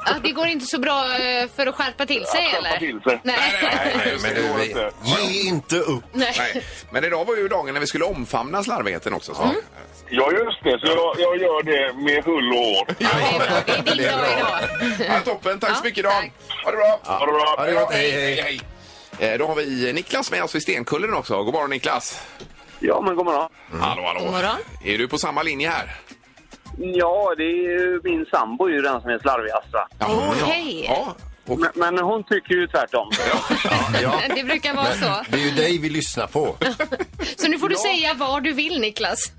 [SPEAKER 4] Att det går inte så bra eh, för att skärpa till
[SPEAKER 9] *laughs*
[SPEAKER 4] sig
[SPEAKER 9] Att skärpa
[SPEAKER 4] eller?
[SPEAKER 9] till sig.
[SPEAKER 4] Nej.
[SPEAKER 3] Nej, nej,
[SPEAKER 5] Men
[SPEAKER 3] men
[SPEAKER 5] du,
[SPEAKER 3] det
[SPEAKER 5] vi- ge inte upp.
[SPEAKER 4] Nej.
[SPEAKER 3] Nej. Men idag var ju dagen när vi skulle omfamna slarvigheten också.
[SPEAKER 4] Mm.
[SPEAKER 3] Så.
[SPEAKER 9] Ja, just det. Så jag, jag gör det med hull och hår.
[SPEAKER 4] Det är bra. Det är din
[SPEAKER 5] Det är
[SPEAKER 4] dag
[SPEAKER 5] bra.
[SPEAKER 4] idag.
[SPEAKER 3] Ja, toppen, tack så
[SPEAKER 4] Ja,
[SPEAKER 3] mycket Dan.
[SPEAKER 4] tack.
[SPEAKER 3] Ha det bra.
[SPEAKER 9] Ha det bra.
[SPEAKER 5] Ha det gott, hej, hej.
[SPEAKER 3] Eh, Då har vi Niklas med oss i Stenkullen också. God morgon Niklas.
[SPEAKER 1] Ja, men god morgon.
[SPEAKER 3] Hallå, hallå.
[SPEAKER 4] God morgon.
[SPEAKER 3] Är du på samma linje här?
[SPEAKER 1] Ja, det är ju min sambo är ju den som är slarvigast. va?
[SPEAKER 4] Åh, hej.
[SPEAKER 3] Ja. Och,
[SPEAKER 1] Men, men hon tycker ju tvärtom.
[SPEAKER 5] Ja.
[SPEAKER 4] Det brukar vara så.
[SPEAKER 5] Det är ju dig vi lyssnar på.
[SPEAKER 4] Så nu får du säga vad du vill Niklas.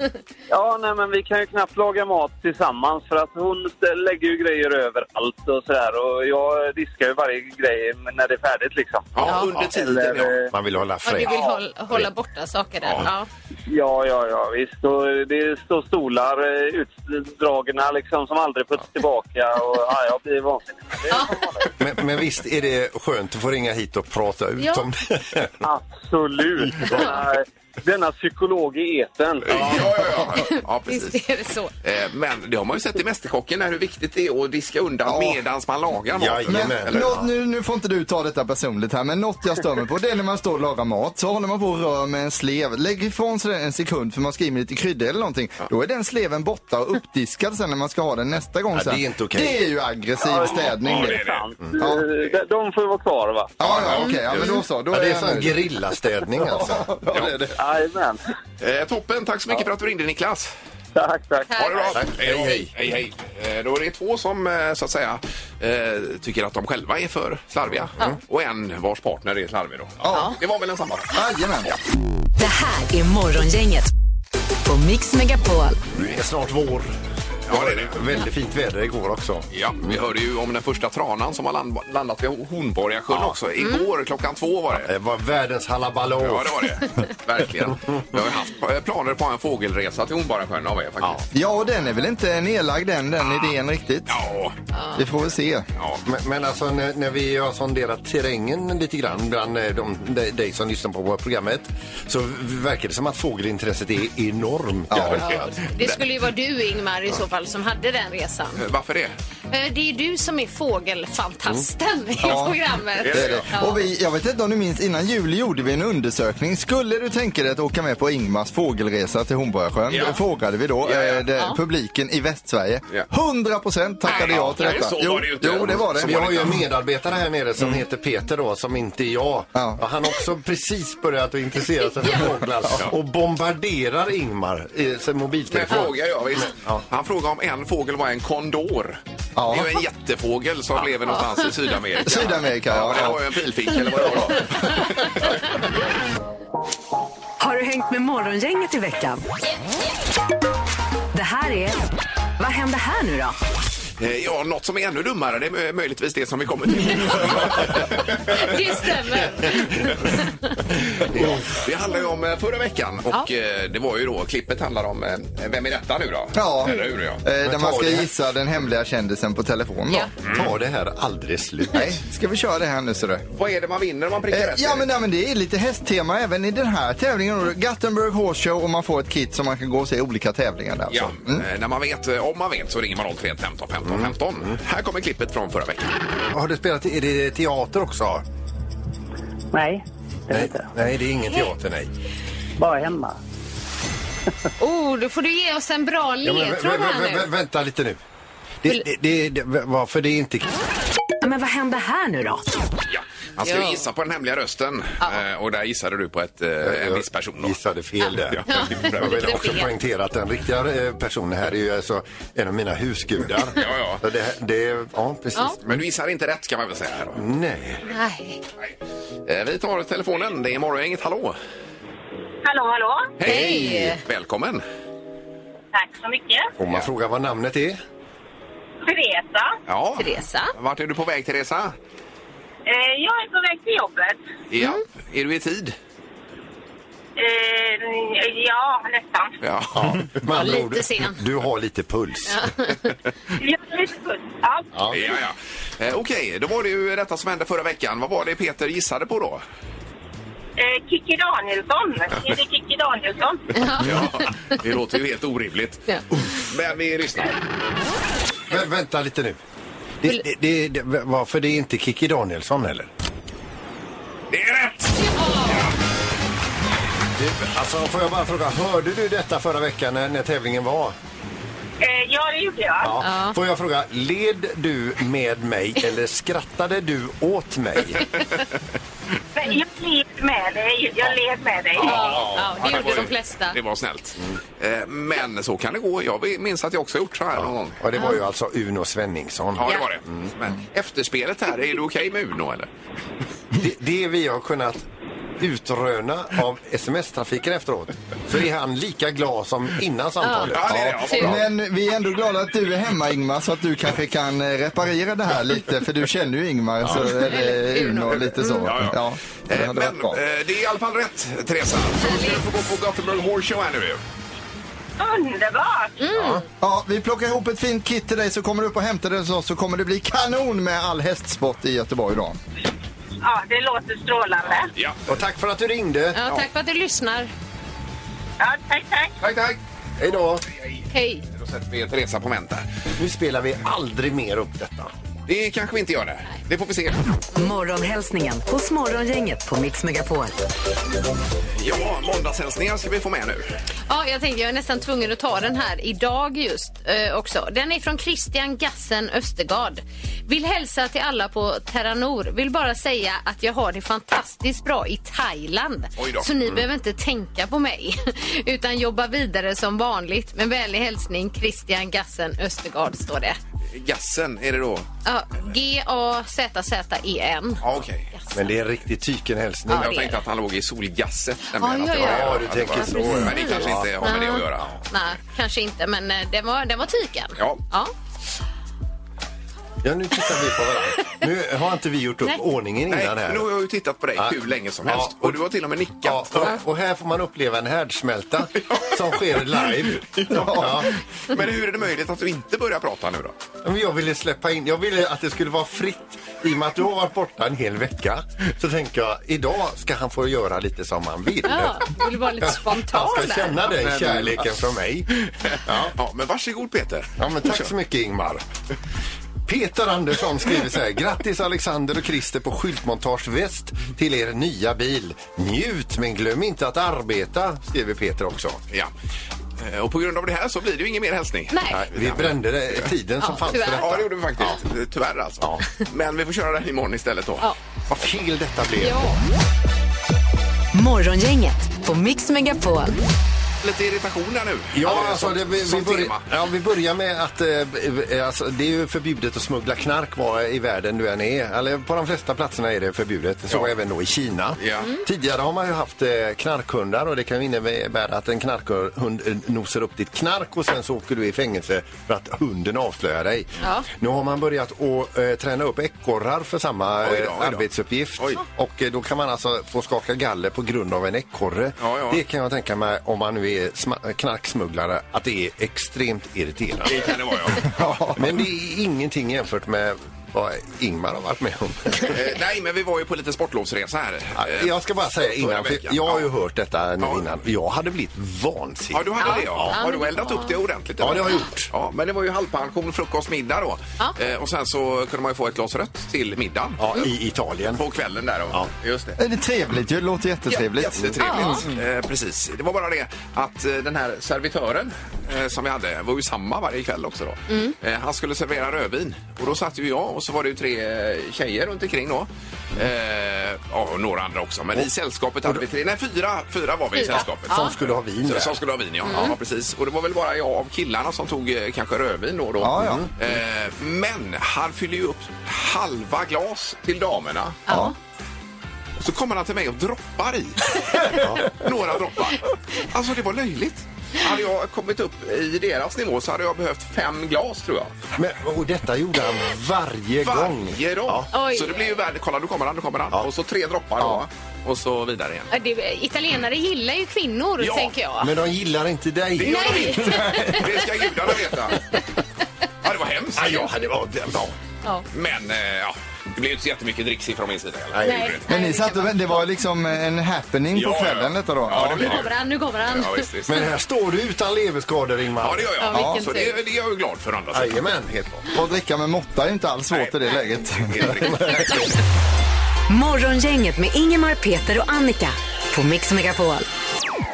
[SPEAKER 1] Ja, nej, men vi kan ju knappt laga mat tillsammans för att hon lägger ju grejer överallt och sådär. Och jag diskar ju varje grej när det är färdigt liksom.
[SPEAKER 3] ja, under tiden ja.
[SPEAKER 1] Eller, eh,
[SPEAKER 5] Man vill hålla
[SPEAKER 4] Vad du
[SPEAKER 5] fred.
[SPEAKER 4] vill håll, hålla borta saker där. Ja.
[SPEAKER 1] Ja, ja, ja, visst. Och det står stolar eh, utdragna liksom som aldrig puts tillbaka. Och, ja, jag blir vansinnig. Det är som vanligt.
[SPEAKER 5] Men, men visst är det skönt att få ringa hit och prata ut
[SPEAKER 4] Ja.
[SPEAKER 5] om *laughs* det.
[SPEAKER 3] *laughs*
[SPEAKER 1] Absolut. Denna, denna psykolog i etern.
[SPEAKER 3] Ja, ja, ja. ja precis.
[SPEAKER 4] *laughs* Visst är det så.
[SPEAKER 3] Eh, Men det har man ju sett i Mästerkocken här hur viktigt det är att diska undan
[SPEAKER 6] Ja.
[SPEAKER 3] medans man lagar maten.
[SPEAKER 5] Jajamän.
[SPEAKER 6] Men,
[SPEAKER 3] Eller-
[SPEAKER 6] något, nu, nu får inte du ta detta personligt här, men något jag stör mig på det är när man står och lagar mat så håller man på och rör med en slev. Lägg ifrån sig den en sekund för man ska i med lite krydda eller någonting. Då är den sleven borta och uppdiskad sen när man ska ha den nästa gång.
[SPEAKER 5] Ja, det är
[SPEAKER 6] sen.
[SPEAKER 5] inte okej.
[SPEAKER 6] Det är ju aggressiv städning
[SPEAKER 9] Det
[SPEAKER 6] det.
[SPEAKER 9] är sant.
[SPEAKER 6] Ja.
[SPEAKER 1] Eh, de- De får ju vara kvar, va?
[SPEAKER 6] Ja, ja, okej. Ja, men då så. Då
[SPEAKER 5] Ja,
[SPEAKER 6] är
[SPEAKER 5] det är
[SPEAKER 6] jag
[SPEAKER 5] sån
[SPEAKER 6] nöjd.
[SPEAKER 5] gerillastädning alltså.
[SPEAKER 6] Ja, det är det.
[SPEAKER 1] Jajamän.
[SPEAKER 3] Eh, Toppen, tack så mycket för att du ringde Niklas.
[SPEAKER 1] Tack, tack.
[SPEAKER 3] Ha det bra.
[SPEAKER 5] Tack. Hej, hej.
[SPEAKER 3] hej, hej. Eh, Då är det två som eh, så att säga eh, tycker att de själva är för slarviga och en vars partner är slarvig då. Ja. Det var väl en sammanfattning.
[SPEAKER 6] Jajamän.
[SPEAKER 2] Det här är Morgongänget på Mix Megapol.
[SPEAKER 5] Det är snart vår.
[SPEAKER 3] Ja, det är det.
[SPEAKER 5] Väldigt fint väder igår också.
[SPEAKER 3] Ja, vi hörde ju om den första tranan som har land, landat vid Hornborgasjön också. Igår klockan två var det.
[SPEAKER 5] Det var Eh, världens halabaloo.
[SPEAKER 3] Mm. Ja, det var det. *laughs* Verkligen. Vi har ju haft eh, planer på en fågelresa till Hornborgasjön av er faktiskt.
[SPEAKER 6] Ja, och den är väl inte nedlagd den, den idén riktigt.
[SPEAKER 3] Ja.
[SPEAKER 6] Vi får väl se.
[SPEAKER 5] Men, men alltså när, när vi har sonderat terrängen lite grann bland eh, de, de, dig som lyssnar på vårt programmet så verkar det som att fågelintresset är enormt.
[SPEAKER 6] Ja.
[SPEAKER 5] där.
[SPEAKER 3] Eh,
[SPEAKER 4] Ja. Det skulle ju vara du Ingmar i så fall som hade den resan.
[SPEAKER 3] Eh, Varför det?
[SPEAKER 4] Eh, Det är du som är fågelfantasten i
[SPEAKER 6] Ja.
[SPEAKER 4] programmet.
[SPEAKER 3] Det är det.
[SPEAKER 4] Ja.
[SPEAKER 6] Och vi, jag vet inte om du minns, innan jul gjorde vi en undersökning. Skulle du tänka dig att åka med på Ingmars fågelresa till Hornborgasjön?
[SPEAKER 3] Ja.
[SPEAKER 6] Det Frågade vi då
[SPEAKER 3] Ja, ja.
[SPEAKER 6] eh, det,
[SPEAKER 4] Ja.
[SPEAKER 6] publiken i Västsverige.
[SPEAKER 3] Ja.
[SPEAKER 6] 100 procent tackade
[SPEAKER 3] Nej,
[SPEAKER 6] ja till
[SPEAKER 3] nej,
[SPEAKER 6] detta.
[SPEAKER 3] så var
[SPEAKER 6] jo,
[SPEAKER 3] det ju inte.
[SPEAKER 6] jo, det var det.
[SPEAKER 3] Så
[SPEAKER 5] Vi
[SPEAKER 3] var
[SPEAKER 5] har ju en medarbetare här nere som
[SPEAKER 3] Mm.
[SPEAKER 5] heter Peter då, som inte är jag.
[SPEAKER 6] Ja.
[SPEAKER 5] Och Han har också precis börjat att
[SPEAKER 3] *laughs*
[SPEAKER 5] intressera sig för fåglar och bombarderar Ingmar i sin
[SPEAKER 3] Men
[SPEAKER 5] mobiltelefon.
[SPEAKER 3] fråga Mm. ja, visst. Han frågade om en fågel var en kondor.
[SPEAKER 6] Ja.
[SPEAKER 3] Det är ju en jättefågel som lever någonstans i Sydamerika.
[SPEAKER 6] Sydamerika,
[SPEAKER 3] ja.
[SPEAKER 6] ja.
[SPEAKER 3] Det var ju en pilfink eller vad det var. *laughs*
[SPEAKER 2] Har du hängt med Morgongänget i veckan? Det här är... Vad händer här nu då?
[SPEAKER 3] Eh, Ja, något som är ännu dummare det är mö- möjligtvis det som vi kommer till. *laughs*
[SPEAKER 4] Det stämmer.
[SPEAKER 3] Ja. Det handlar ju om eh, förra veckan och eh, det var ju då, klippet handlar om eh, Vem är detta nu då?
[SPEAKER 6] Ja,
[SPEAKER 3] Eller hur? Ja.
[SPEAKER 6] eh, där man
[SPEAKER 5] ta
[SPEAKER 6] ska
[SPEAKER 5] det.
[SPEAKER 6] gissa den hemliga kändisen på telefon då.
[SPEAKER 4] Ja.
[SPEAKER 3] Mm.
[SPEAKER 5] Ta det här aldrig slut.
[SPEAKER 6] Nej, ska vi köra det här nu ser du?
[SPEAKER 3] *laughs* Vad är det man vinner om man prickar
[SPEAKER 6] Eh,
[SPEAKER 3] rätt?
[SPEAKER 6] Ja men, ja men det är lite hästtema även i den här tävlingen. Gothenburg Horse Show och man får ett kit som man kan gå och se i olika tävlingar där.
[SPEAKER 3] Ja,
[SPEAKER 6] alltså.
[SPEAKER 3] eh, när man vet, eh, om man vet så ringer man 031 15 15 15.
[SPEAKER 6] Mm.
[SPEAKER 3] Här kommer klippet från förra veckan.
[SPEAKER 5] Har du spelat är det teater också?
[SPEAKER 1] Nej, det
[SPEAKER 5] Nej, nej, det är ingen teater, nej.
[SPEAKER 1] Bara hemma.
[SPEAKER 4] Oh, då får du ge oss en bra
[SPEAKER 5] Ja, men, vä-
[SPEAKER 4] ledtråd
[SPEAKER 5] vä-
[SPEAKER 4] här
[SPEAKER 5] vä- vä-
[SPEAKER 4] nu.
[SPEAKER 5] vänta lite nu. Det, det, det, det, varför det är inte...
[SPEAKER 3] Äh,
[SPEAKER 2] Men vad händer här nu då?
[SPEAKER 3] Ja. Man ska ju
[SPEAKER 4] Ja.
[SPEAKER 3] gissa på den hemliga rösten eh, och där gissade du på ett, eh, en viss person. Då.
[SPEAKER 5] gissade fel där.
[SPEAKER 3] Ja.
[SPEAKER 5] Jag vill
[SPEAKER 4] Lite
[SPEAKER 5] också
[SPEAKER 4] fel.
[SPEAKER 5] poängtera att den riktiga eh, personen här är ju alltså en av mina husgudar.
[SPEAKER 3] Ja, ja.
[SPEAKER 5] Så Det, det, ja, precis.
[SPEAKER 4] Ja.
[SPEAKER 3] Men du gissar inte rätt kan man väl säga. här Då.
[SPEAKER 5] Nej.
[SPEAKER 4] Nej.
[SPEAKER 3] Eh, Vi tar telefonen. Det är Morgongänget. Hallå!
[SPEAKER 7] Hallå, hallå.
[SPEAKER 4] Hej.
[SPEAKER 3] Välkommen!
[SPEAKER 7] Tack så mycket.
[SPEAKER 5] Om man frågar vad namnet är?
[SPEAKER 7] Teresa.
[SPEAKER 3] Ja.
[SPEAKER 4] Teresa.
[SPEAKER 3] Vart är du på väg, Teresa?
[SPEAKER 7] Eh, jag är på väg till jobbet.
[SPEAKER 3] Ja.
[SPEAKER 4] Mm.
[SPEAKER 3] Är du i tid?
[SPEAKER 7] Eh, ja, nästan.
[SPEAKER 3] Ja.
[SPEAKER 5] Med andra
[SPEAKER 4] lite
[SPEAKER 5] ord,
[SPEAKER 4] sen.
[SPEAKER 5] Du har lite puls.
[SPEAKER 7] Jag är lite full. Ja.
[SPEAKER 3] *laughs* ja, ja. Eh, Okej, då var det ju detta som hände förra veckan. Vad var det Peter gissade på då?
[SPEAKER 7] Eh, Kikki Danielsson. Är det Kikki Danielsson?
[SPEAKER 3] Ja. Det låter ju helt orimligt.
[SPEAKER 4] Ja.
[SPEAKER 3] Men vi lyssnar.
[SPEAKER 5] Vä vänta lite nu. Det, det, det, det, varför det är inte Kikki Danielsson eller?
[SPEAKER 3] Det är rätt!
[SPEAKER 5] Det, alltså får jag bara fråga, hörde du detta förra veckan när, när tävlingen var?
[SPEAKER 7] Eh, ja, det gjorde jag.
[SPEAKER 5] Ja. Får jag fråga, led du med mig eller skrattade du åt mig?
[SPEAKER 7] Men jag led med dig. Jag led med dig.
[SPEAKER 4] Ja, det gjorde
[SPEAKER 3] var ju-
[SPEAKER 4] de flesta.
[SPEAKER 3] Det var snällt. Eh, Men så kan det gå. Jag minns att jag också gjort så här någon gång.
[SPEAKER 5] Och det var ju alltså Uno Svenningsson.
[SPEAKER 3] Ja, det var det.
[SPEAKER 4] Mm.
[SPEAKER 3] Men efterspelet här, är det okej med Uno eller?
[SPEAKER 5] Det, det vi har kunnat utröna av sms-trafiken efteråt. Så är han lika glad som innan samtalet.
[SPEAKER 3] Ja, det är det. Ja, vad bra.
[SPEAKER 6] Men vi är ändå glada att du är hemma Ingmar så att du kanske kan eh, reparera det här lite för du känner ju Ingmar så är det Uno och lite så.
[SPEAKER 3] Ja, ja.
[SPEAKER 6] det
[SPEAKER 3] Eh,
[SPEAKER 6] hade
[SPEAKER 3] Men
[SPEAKER 6] varit bra.
[SPEAKER 3] eh, det är i alla fall rätt, Teresa. Så nu ska du få gå på Gothenburg Horse Show här nu.
[SPEAKER 7] Underbart!
[SPEAKER 6] Ja, vi plockar ihop ett fint kit till dig så kommer du upp och hämtar det hos oss så kommer det bli kanon med all hästsport i Göteborg då.
[SPEAKER 7] Ja, det låter strålande.
[SPEAKER 3] Ja.
[SPEAKER 5] Och tack för att du ringde.
[SPEAKER 4] Ja, tack för att du lyssnar.
[SPEAKER 7] Ja, tack, tack.
[SPEAKER 3] Tack, tack.
[SPEAKER 5] Hej då.
[SPEAKER 4] Hej.
[SPEAKER 3] Då sätter vi Teresa på vänt där.
[SPEAKER 5] Nu spelar vi aldrig mer upp detta.
[SPEAKER 3] Det kanske vi inte gör det. Det får vi se.
[SPEAKER 2] Morgonhälsningen hos Morgongänget på Mix Megapol.
[SPEAKER 3] Ja, måndagshälsningar ska vi få med nu.
[SPEAKER 4] Ja, jag tänkte jag är nästan tvungen att ta den här idag just eh, också. Den är från Christian Gassen Östergaard. Vill hälsa till alla på Terranor. Vill bara säga att jag har det fantastiskt bra i Thailand.
[SPEAKER 3] Oj då. Mm.
[SPEAKER 4] Så ni behöver inte tänka på mig *laughs* utan jobba vidare som vanligt. Med vänlig hälsning Christian Gassen Östergaard står det.
[SPEAKER 3] Gassen, är det då?
[SPEAKER 4] Ja, G-A-Z-Z-E-N.
[SPEAKER 3] Ja, okej.
[SPEAKER 5] Men det är en riktig tykenhälsning.
[SPEAKER 4] Ja, det
[SPEAKER 3] Jag
[SPEAKER 4] är
[SPEAKER 3] tänkte att han låg i solgasset.
[SPEAKER 4] Ja,
[SPEAKER 3] att det
[SPEAKER 4] ja,
[SPEAKER 3] var-
[SPEAKER 4] ja.
[SPEAKER 5] Ja, du
[SPEAKER 3] att det
[SPEAKER 5] tänker
[SPEAKER 3] var-
[SPEAKER 5] så,
[SPEAKER 3] Men
[SPEAKER 5] ja.
[SPEAKER 3] det kanske inte har med det att göra.
[SPEAKER 4] Nej, kanske inte, men eh, den var, den var tyken.
[SPEAKER 3] Ja.
[SPEAKER 5] Ja, nu tittar vi på varandra. Nu har inte vi gjort upp
[SPEAKER 4] Nej.
[SPEAKER 5] ordningen
[SPEAKER 3] Nej,
[SPEAKER 5] innan här.
[SPEAKER 3] nu har jag ju tittat på dig
[SPEAKER 5] Ja.
[SPEAKER 3] hur länge som
[SPEAKER 5] Ja,
[SPEAKER 3] helst.
[SPEAKER 5] och-
[SPEAKER 3] Och du har till och med
[SPEAKER 5] Ja,
[SPEAKER 3] nickat.
[SPEAKER 5] och, och här får man uppleva
[SPEAKER 3] *laughs*
[SPEAKER 5] en härdsmälta som sker live. Ja.
[SPEAKER 3] Men hur är det möjligt att du inte börjar prata nu då?
[SPEAKER 5] Men jag ville släppa in, jag ville att det skulle vara fritt. I och med att du har varit borta en hel vecka så tänker jag idag ska han få göra lite som han vill.
[SPEAKER 4] Ja, vill vara lite spontan
[SPEAKER 5] Han ska
[SPEAKER 4] där.
[SPEAKER 5] känna den kärleken från mig.
[SPEAKER 3] Ja. men varsågod Peter.
[SPEAKER 5] Ja, men tack så mycket Ingmar. Peter Andersson skriver så här. Grattis Alexander och Christer på skyltmontage väst till er nya bil. Njut men glöm inte att arbeta, skriver Peter också.
[SPEAKER 3] Ja. Eh, Och på grund av det här så blir det ju ingen mer hälsning.
[SPEAKER 4] Nej.
[SPEAKER 5] Nej, vi brände det, tiden som
[SPEAKER 4] Ja,
[SPEAKER 5] fanns för
[SPEAKER 4] tyvärr.
[SPEAKER 3] Ja,
[SPEAKER 5] detta.
[SPEAKER 3] det gjorde vi faktiskt. Tyvärr alltså. Men vi får köra den imorgon istället då.
[SPEAKER 4] Ja.
[SPEAKER 5] Vad fel detta blev.
[SPEAKER 4] Ja.
[SPEAKER 2] Morgongänget på Mix Megapol.
[SPEAKER 3] Lite irritation där nu.
[SPEAKER 5] Ja,
[SPEAKER 3] Alltså,
[SPEAKER 5] alltså, det, vi, vi,
[SPEAKER 3] som
[SPEAKER 5] börjar,
[SPEAKER 3] tema.
[SPEAKER 5] ja, vi börjar med att eh, eh, alltså, det är ju förbjudet att smuggla knark var i världen du än är. Eller på de flesta platserna är det förbjudet, så
[SPEAKER 3] Ja.
[SPEAKER 5] även då i Kina.
[SPEAKER 3] Ja. Mm.
[SPEAKER 5] Tidigare har man ju haft eh, knarkhundar och det kan ju innebära att en knarkhund eh, nosar upp ditt knark och sen så åker du i fängelse för att hunden avslöjar dig.
[SPEAKER 4] Ja.
[SPEAKER 5] Nu har man börjat att eh, träna upp ekorrar för samma
[SPEAKER 3] Oj då, oj
[SPEAKER 5] eh,
[SPEAKER 3] då.
[SPEAKER 5] arbetsuppgift.
[SPEAKER 3] Oj.
[SPEAKER 5] Och eh, då kan man alltså få skaka galler på grund av en ekorre.
[SPEAKER 3] Ja, ja.
[SPEAKER 5] Det kan jag tänka mig om man nu är sma- knarksmugglare att det är extremt irriterande.
[SPEAKER 3] Det kan det vara ja.
[SPEAKER 5] Men det är ingenting jämfört med vad Ingmar har varit med
[SPEAKER 3] *laughs*
[SPEAKER 5] om.
[SPEAKER 3] *laughs* Eh, Nej, men vi var ju på lite sportlovsresa här. Eh,
[SPEAKER 5] Jag ska bara säga
[SPEAKER 3] förra
[SPEAKER 5] innan, för
[SPEAKER 3] veckan.
[SPEAKER 5] jag har
[SPEAKER 3] Ja.
[SPEAKER 5] ju hört detta nu
[SPEAKER 3] Ja.
[SPEAKER 5] innan. Jag hade blivit vansinnig.
[SPEAKER 3] Ja, du hade det ja. Har
[SPEAKER 4] men
[SPEAKER 3] du
[SPEAKER 4] det
[SPEAKER 3] eldat
[SPEAKER 4] var-
[SPEAKER 3] upp det ordentligt?
[SPEAKER 5] Ja,
[SPEAKER 3] eller?
[SPEAKER 5] det har jag gjort.
[SPEAKER 3] Ja, men det var ju halvpension, frukost, middag då.
[SPEAKER 4] Ja.
[SPEAKER 3] Eh, och sen så kunde man ju få ett glas rött till middagen.
[SPEAKER 5] Ja, i Italien.
[SPEAKER 3] På kvällen där. Och,
[SPEAKER 5] Ja.
[SPEAKER 3] Just det.
[SPEAKER 6] Är det trevligt Mm. ju? Det låter jättetrevligt.
[SPEAKER 3] Jättetrevligt. Eh, precis. Det var bara det att eh, den här servitören eh, som vi hade var ju samma varje kväll också då.
[SPEAKER 6] Mm.
[SPEAKER 3] Eh, han skulle servera rödvin och då satt ju jag och så var det ju tre eh, tjejer runt omkring då. Eh, ja, och några andra också. Men i sällskapet hade vi tre, nej fyra, fyra var vi i
[SPEAKER 4] Fyra.
[SPEAKER 3] sällskapet.
[SPEAKER 5] Som skulle ha vin
[SPEAKER 3] Så-
[SPEAKER 5] där.
[SPEAKER 3] Som skulle ha vin,
[SPEAKER 6] Mm.
[SPEAKER 3] ja. ja. precis. Och det var väl bara jag av killarna som tog eh, kanske rödvin då och då.
[SPEAKER 6] Ja, ja.
[SPEAKER 3] Eh, men han fyllde ju upp halva glas till damerna.
[SPEAKER 4] Ja.
[SPEAKER 3] Och så kommer han till mig och droppar *laughs* i. Några droppar. Alltså det var löjligt. Hade jag kommit upp i deras nivå så hade jag behövt fem glas tror jag.
[SPEAKER 5] Men, och detta gjorde han varje gång.
[SPEAKER 3] Varje dag.
[SPEAKER 4] Oj.
[SPEAKER 3] Så det blir ju värde. Kolla nu kommer han, nu kommer han. Och så tre droppar då. Och så vidare igen.
[SPEAKER 4] Ja, det, italienare gillar ju kvinnor,
[SPEAKER 3] Ja,
[SPEAKER 4] tänker jag.
[SPEAKER 5] Men de gillar inte dig.
[SPEAKER 3] Det gör de inte. Det ska gudarna veta. Ja, det var hemskt.
[SPEAKER 5] Ja, jag hade varit... Ja.
[SPEAKER 4] Ja.
[SPEAKER 3] Men eh, ja, Det blir ju inte jättemycket dricksig från min sida. Eller?
[SPEAKER 5] Nej.
[SPEAKER 4] Nej.
[SPEAKER 6] Men ni
[SPEAKER 4] det
[SPEAKER 6] satt
[SPEAKER 4] kan
[SPEAKER 6] och
[SPEAKER 4] man
[SPEAKER 6] väntade. Det var liksom en happening
[SPEAKER 3] Ja,
[SPEAKER 6] på
[SPEAKER 3] ja.
[SPEAKER 6] kvällen detta då?
[SPEAKER 3] Ja, det blir
[SPEAKER 4] Nu kommer
[SPEAKER 3] det.
[SPEAKER 4] han, nu kommer han.
[SPEAKER 3] Ja, visst, visst.
[SPEAKER 5] Men här står du utan leverskador, Ingmar.
[SPEAKER 3] Ja, det gör jag.
[SPEAKER 4] Ja,
[SPEAKER 3] Ja,
[SPEAKER 4] vilken
[SPEAKER 3] så
[SPEAKER 4] tur.
[SPEAKER 3] det, det är jag ju glad för å andra
[SPEAKER 5] Jajamän.
[SPEAKER 3] Helt klart.
[SPEAKER 6] Och att dricka med måtta är ju inte alls svårt i det läget.
[SPEAKER 3] Helt riktigt. *laughs*
[SPEAKER 2] Morgongänget med Ingemar, Peter och Annika på Mix Megapol.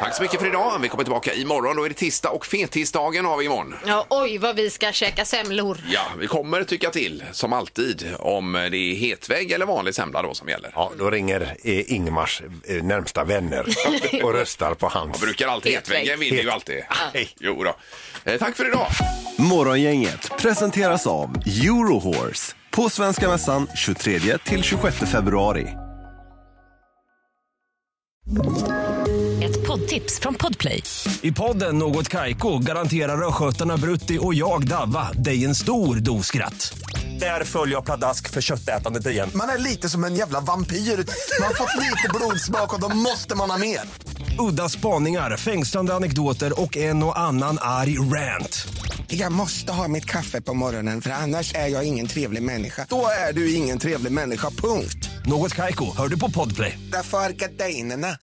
[SPEAKER 3] Tack så mycket för idag. Vi kommer tillbaka imorgon. Då är det tisdag och fettisdagen har vi imorgon.
[SPEAKER 4] Ja, oj, vad vi ska käka semlor.
[SPEAKER 3] Ja, vi kommer tycka till som alltid om det är hetvägg eller vanlig semla då som gäller.
[SPEAKER 5] Ja, då ringer eh, Ingmars eh,
[SPEAKER 3] *laughs*
[SPEAKER 5] närmsta vänner och röstar på hans.
[SPEAKER 3] Jag brukar alltid
[SPEAKER 4] Hetvägg.
[SPEAKER 3] hetväggen, vill ju alltid.
[SPEAKER 5] Nej.
[SPEAKER 3] Jo då. Eh, Tack för idag.
[SPEAKER 10] Morgongänget presenteras av Eurohorse på Svenska Mässan 23-26 februari.
[SPEAKER 11] Ett poddtips från Podplay.
[SPEAKER 10] I podden Något Kaiko garanterar östgötarna Brutti och jag, Davva, dig en stor dos skratt. Där följer jag pladask för köttätandet igen.
[SPEAKER 12] Man är lite som en jävla vampyr. Man har fått lite blodsmak och då måste man ha mer.
[SPEAKER 10] Udda spaningar, fängslande anekdoter och en och annan arg rant.
[SPEAKER 12] Jag måste ha mitt kaffe på morgonen för annars är jag ingen trevlig människa. Då är du ingen trevlig människa, punkt.
[SPEAKER 10] Något Kaiko, hör du på Podplay.
[SPEAKER 12] Därför arkadeinerna.